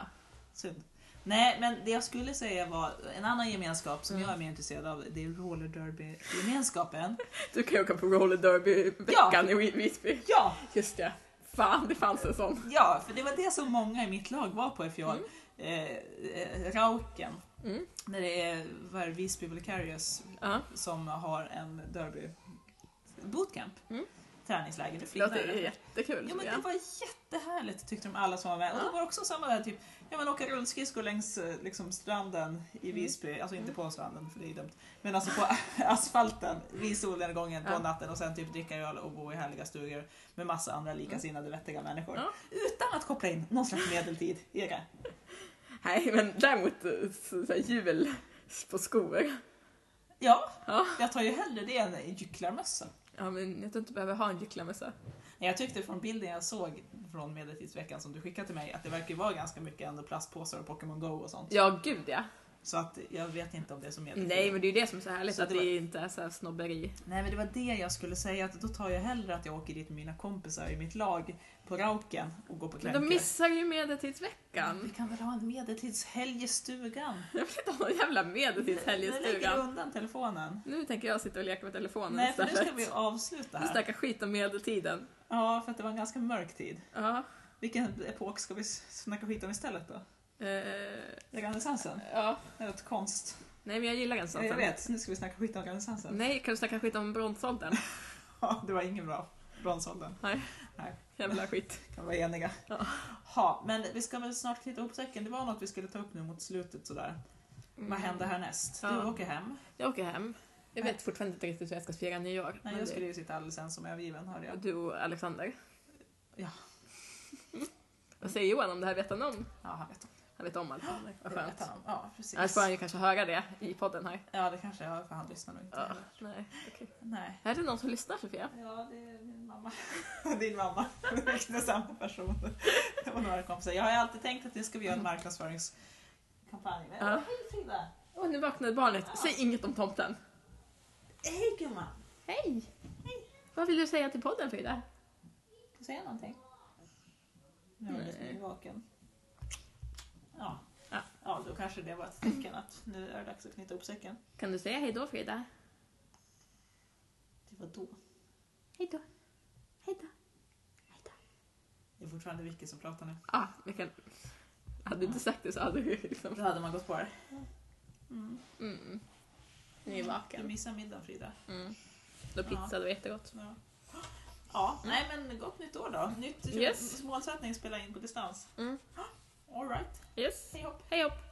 [SPEAKER 1] synd. Nej men det jag skulle säga var en annan gemenskap
[SPEAKER 2] Mm.
[SPEAKER 1] som jag är mer intresserad av, det är roller derby gemenskapen.
[SPEAKER 2] Du kan ju åka på roller derby-veckan i Visby.
[SPEAKER 1] ja!
[SPEAKER 2] Just det. Fan, det fanns en sån.
[SPEAKER 1] Ja, för det var det som många i mitt lag var på i fjol. Eh, eh, Rauken.
[SPEAKER 2] Mm.
[SPEAKER 1] När det är var det Visby Vulcarius
[SPEAKER 2] Ja.
[SPEAKER 1] som har en derby bootcamp.
[SPEAKER 2] Mm.
[SPEAKER 1] Träningsläger. Det
[SPEAKER 2] Det
[SPEAKER 1] flydde.
[SPEAKER 2] låter jättekul.
[SPEAKER 1] Ja, men
[SPEAKER 2] tycker
[SPEAKER 1] det var jättehärligt tyckte de alla som var med. Och det var också samma där typ, ja men åka rullskridskor längs eh, liksom, stranden i
[SPEAKER 2] Mm.
[SPEAKER 1] Visby, alltså inte på stranden för det är ju dumt, men alltså på asfalten vid solnedgången på
[SPEAKER 2] Ja.
[SPEAKER 1] natten och sen typ dricka öl och bo i härliga stugor med massa andra likasinnade vettiga människor.
[SPEAKER 2] Mm. Ja.
[SPEAKER 1] Utan att koppla in någon slags medeltid i det.
[SPEAKER 2] Nej, men däremot eh, så, så här, hjul på skor.
[SPEAKER 1] Ja,
[SPEAKER 2] Ja.
[SPEAKER 1] jag tar ju hellre det än en gycklarmössa.
[SPEAKER 2] Ja, men jag tror inte du behöver ha en gycklarmössa.
[SPEAKER 1] Nej, Jag tyckte från bilden jag såg från medeltidsveckan som du skickade till mig att det verkar ju vara ganska mycket ändå plastpåsar och Pokémon Go och sånt.
[SPEAKER 2] Ja, gud ja.
[SPEAKER 1] Så att jag vet inte om det är så medeltid.
[SPEAKER 2] Nej, men det är ju det som är så härligt,
[SPEAKER 1] Så
[SPEAKER 2] att
[SPEAKER 1] det var-
[SPEAKER 2] det inte är så här snobberi.
[SPEAKER 1] Nej men det var det jag skulle säga, att då tar jag hellre att jag åker dit med mina kompisar i mitt lag på Rauken och går på
[SPEAKER 2] Men
[SPEAKER 1] klänker.
[SPEAKER 2] de missar ju
[SPEAKER 1] Vi
[SPEAKER 2] medeltidsveckan.
[SPEAKER 1] kan väl ha en medeltidshelg i stugan?
[SPEAKER 2] Jag vill inte ha någon jävla medeltidshelg i
[SPEAKER 1] Nu lägger du
[SPEAKER 2] stugan.
[SPEAKER 1] undan telefonen.
[SPEAKER 2] Nu tänker jag sitta och leka med telefonen
[SPEAKER 1] Nej, för nu
[SPEAKER 2] istället.
[SPEAKER 1] ska vi avsluta
[SPEAKER 2] Vi
[SPEAKER 1] här.
[SPEAKER 2] snackar skit om medeltiden.
[SPEAKER 1] Ja, för att det var en ganska mörk tid.
[SPEAKER 2] Ja.
[SPEAKER 1] Vilken epok ska vi snacka skit om istället då?
[SPEAKER 2] Eh,
[SPEAKER 1] Renässansen?
[SPEAKER 2] ja.
[SPEAKER 1] Eller konst?
[SPEAKER 2] Nej, men jag gillar den
[SPEAKER 1] Ja, jag
[SPEAKER 2] sorten.
[SPEAKER 1] vet, nu ska vi snacka skit om renässansen.
[SPEAKER 2] Nej, kan du snacka skit om bronsåldern?
[SPEAKER 1] Ja, det var ingen bra bronsåldern.
[SPEAKER 2] Jävla skit.
[SPEAKER 1] Kan vara eniga.
[SPEAKER 2] Ja.
[SPEAKER 1] Ha, men vi ska väl snart knyta ihop säcken. Det var något vi skulle ta upp nu mot slutet sådär. Mm. Vad händer härnäst? Du
[SPEAKER 2] Mm. Ja.
[SPEAKER 1] åker hem.
[SPEAKER 2] Jag åker hem. Jag vet fortfarande inte riktigt hur jag ska fira nyår.
[SPEAKER 1] Nej,
[SPEAKER 2] men
[SPEAKER 1] jag
[SPEAKER 2] det-
[SPEAKER 1] skulle ju sitta alldeles ensam och övergiven hörde jag.
[SPEAKER 2] Du och Alexander.
[SPEAKER 1] Ja.
[SPEAKER 2] Vad säger Johan om det här? Vet han om?
[SPEAKER 1] Ja, han vet om.
[SPEAKER 2] Han vet om Alexander. Vad
[SPEAKER 1] Det vet
[SPEAKER 2] skönt.
[SPEAKER 1] han om. Ja, precis.
[SPEAKER 2] Annars får han ju kanske höra det i podden här.
[SPEAKER 1] Ja, det kanske jag för han lyssnar nog inte.
[SPEAKER 2] Ja,
[SPEAKER 1] heller.
[SPEAKER 2] nej. okej.
[SPEAKER 1] Nej.
[SPEAKER 2] Är det någon som lyssnar Sofia?
[SPEAKER 1] Ja, det är min mamma. Din mamma. Det är samma person. Det var några kompisar. Jag har ju alltid tänkt att det ska vi göra en marknadsföringskampanj med.
[SPEAKER 2] Mm. Ja.
[SPEAKER 1] Hej Frida!
[SPEAKER 2] Åh, nu vaknade barnet. Säg inget om tomten.
[SPEAKER 1] Hej gumman!
[SPEAKER 2] Hej! Vad vill du säga till podden Frida?
[SPEAKER 1] Får jag säga någonting? Nu är
[SPEAKER 2] Nej.
[SPEAKER 1] jag vaken. Ja.
[SPEAKER 2] Ja.
[SPEAKER 1] ja, då kanske det var ett tecken att nu är det dags att knyta upp säcken.
[SPEAKER 2] Kan du säga hejdå Frida?
[SPEAKER 1] Det var då.
[SPEAKER 2] Hejdå. Hejdå.
[SPEAKER 1] Det är fortfarande Vicky som pratar nu.
[SPEAKER 2] Ah, Mikael. Hade du inte sagt det så hade du liksom...
[SPEAKER 1] Då hade man gått på det.
[SPEAKER 2] Mm. Nu är
[SPEAKER 1] Du
[SPEAKER 2] vaken.
[SPEAKER 1] missade middagen Frida.
[SPEAKER 2] Mm. Då pizza, det var jättegott.
[SPEAKER 1] Ja. Ja, nej men gott nytt år då. Nytt
[SPEAKER 2] Yes.
[SPEAKER 1] målsättning spela in på distans.
[SPEAKER 2] Mm.
[SPEAKER 1] All right.
[SPEAKER 2] Yes.
[SPEAKER 1] Hej hopp.
[SPEAKER 2] Hej hopp!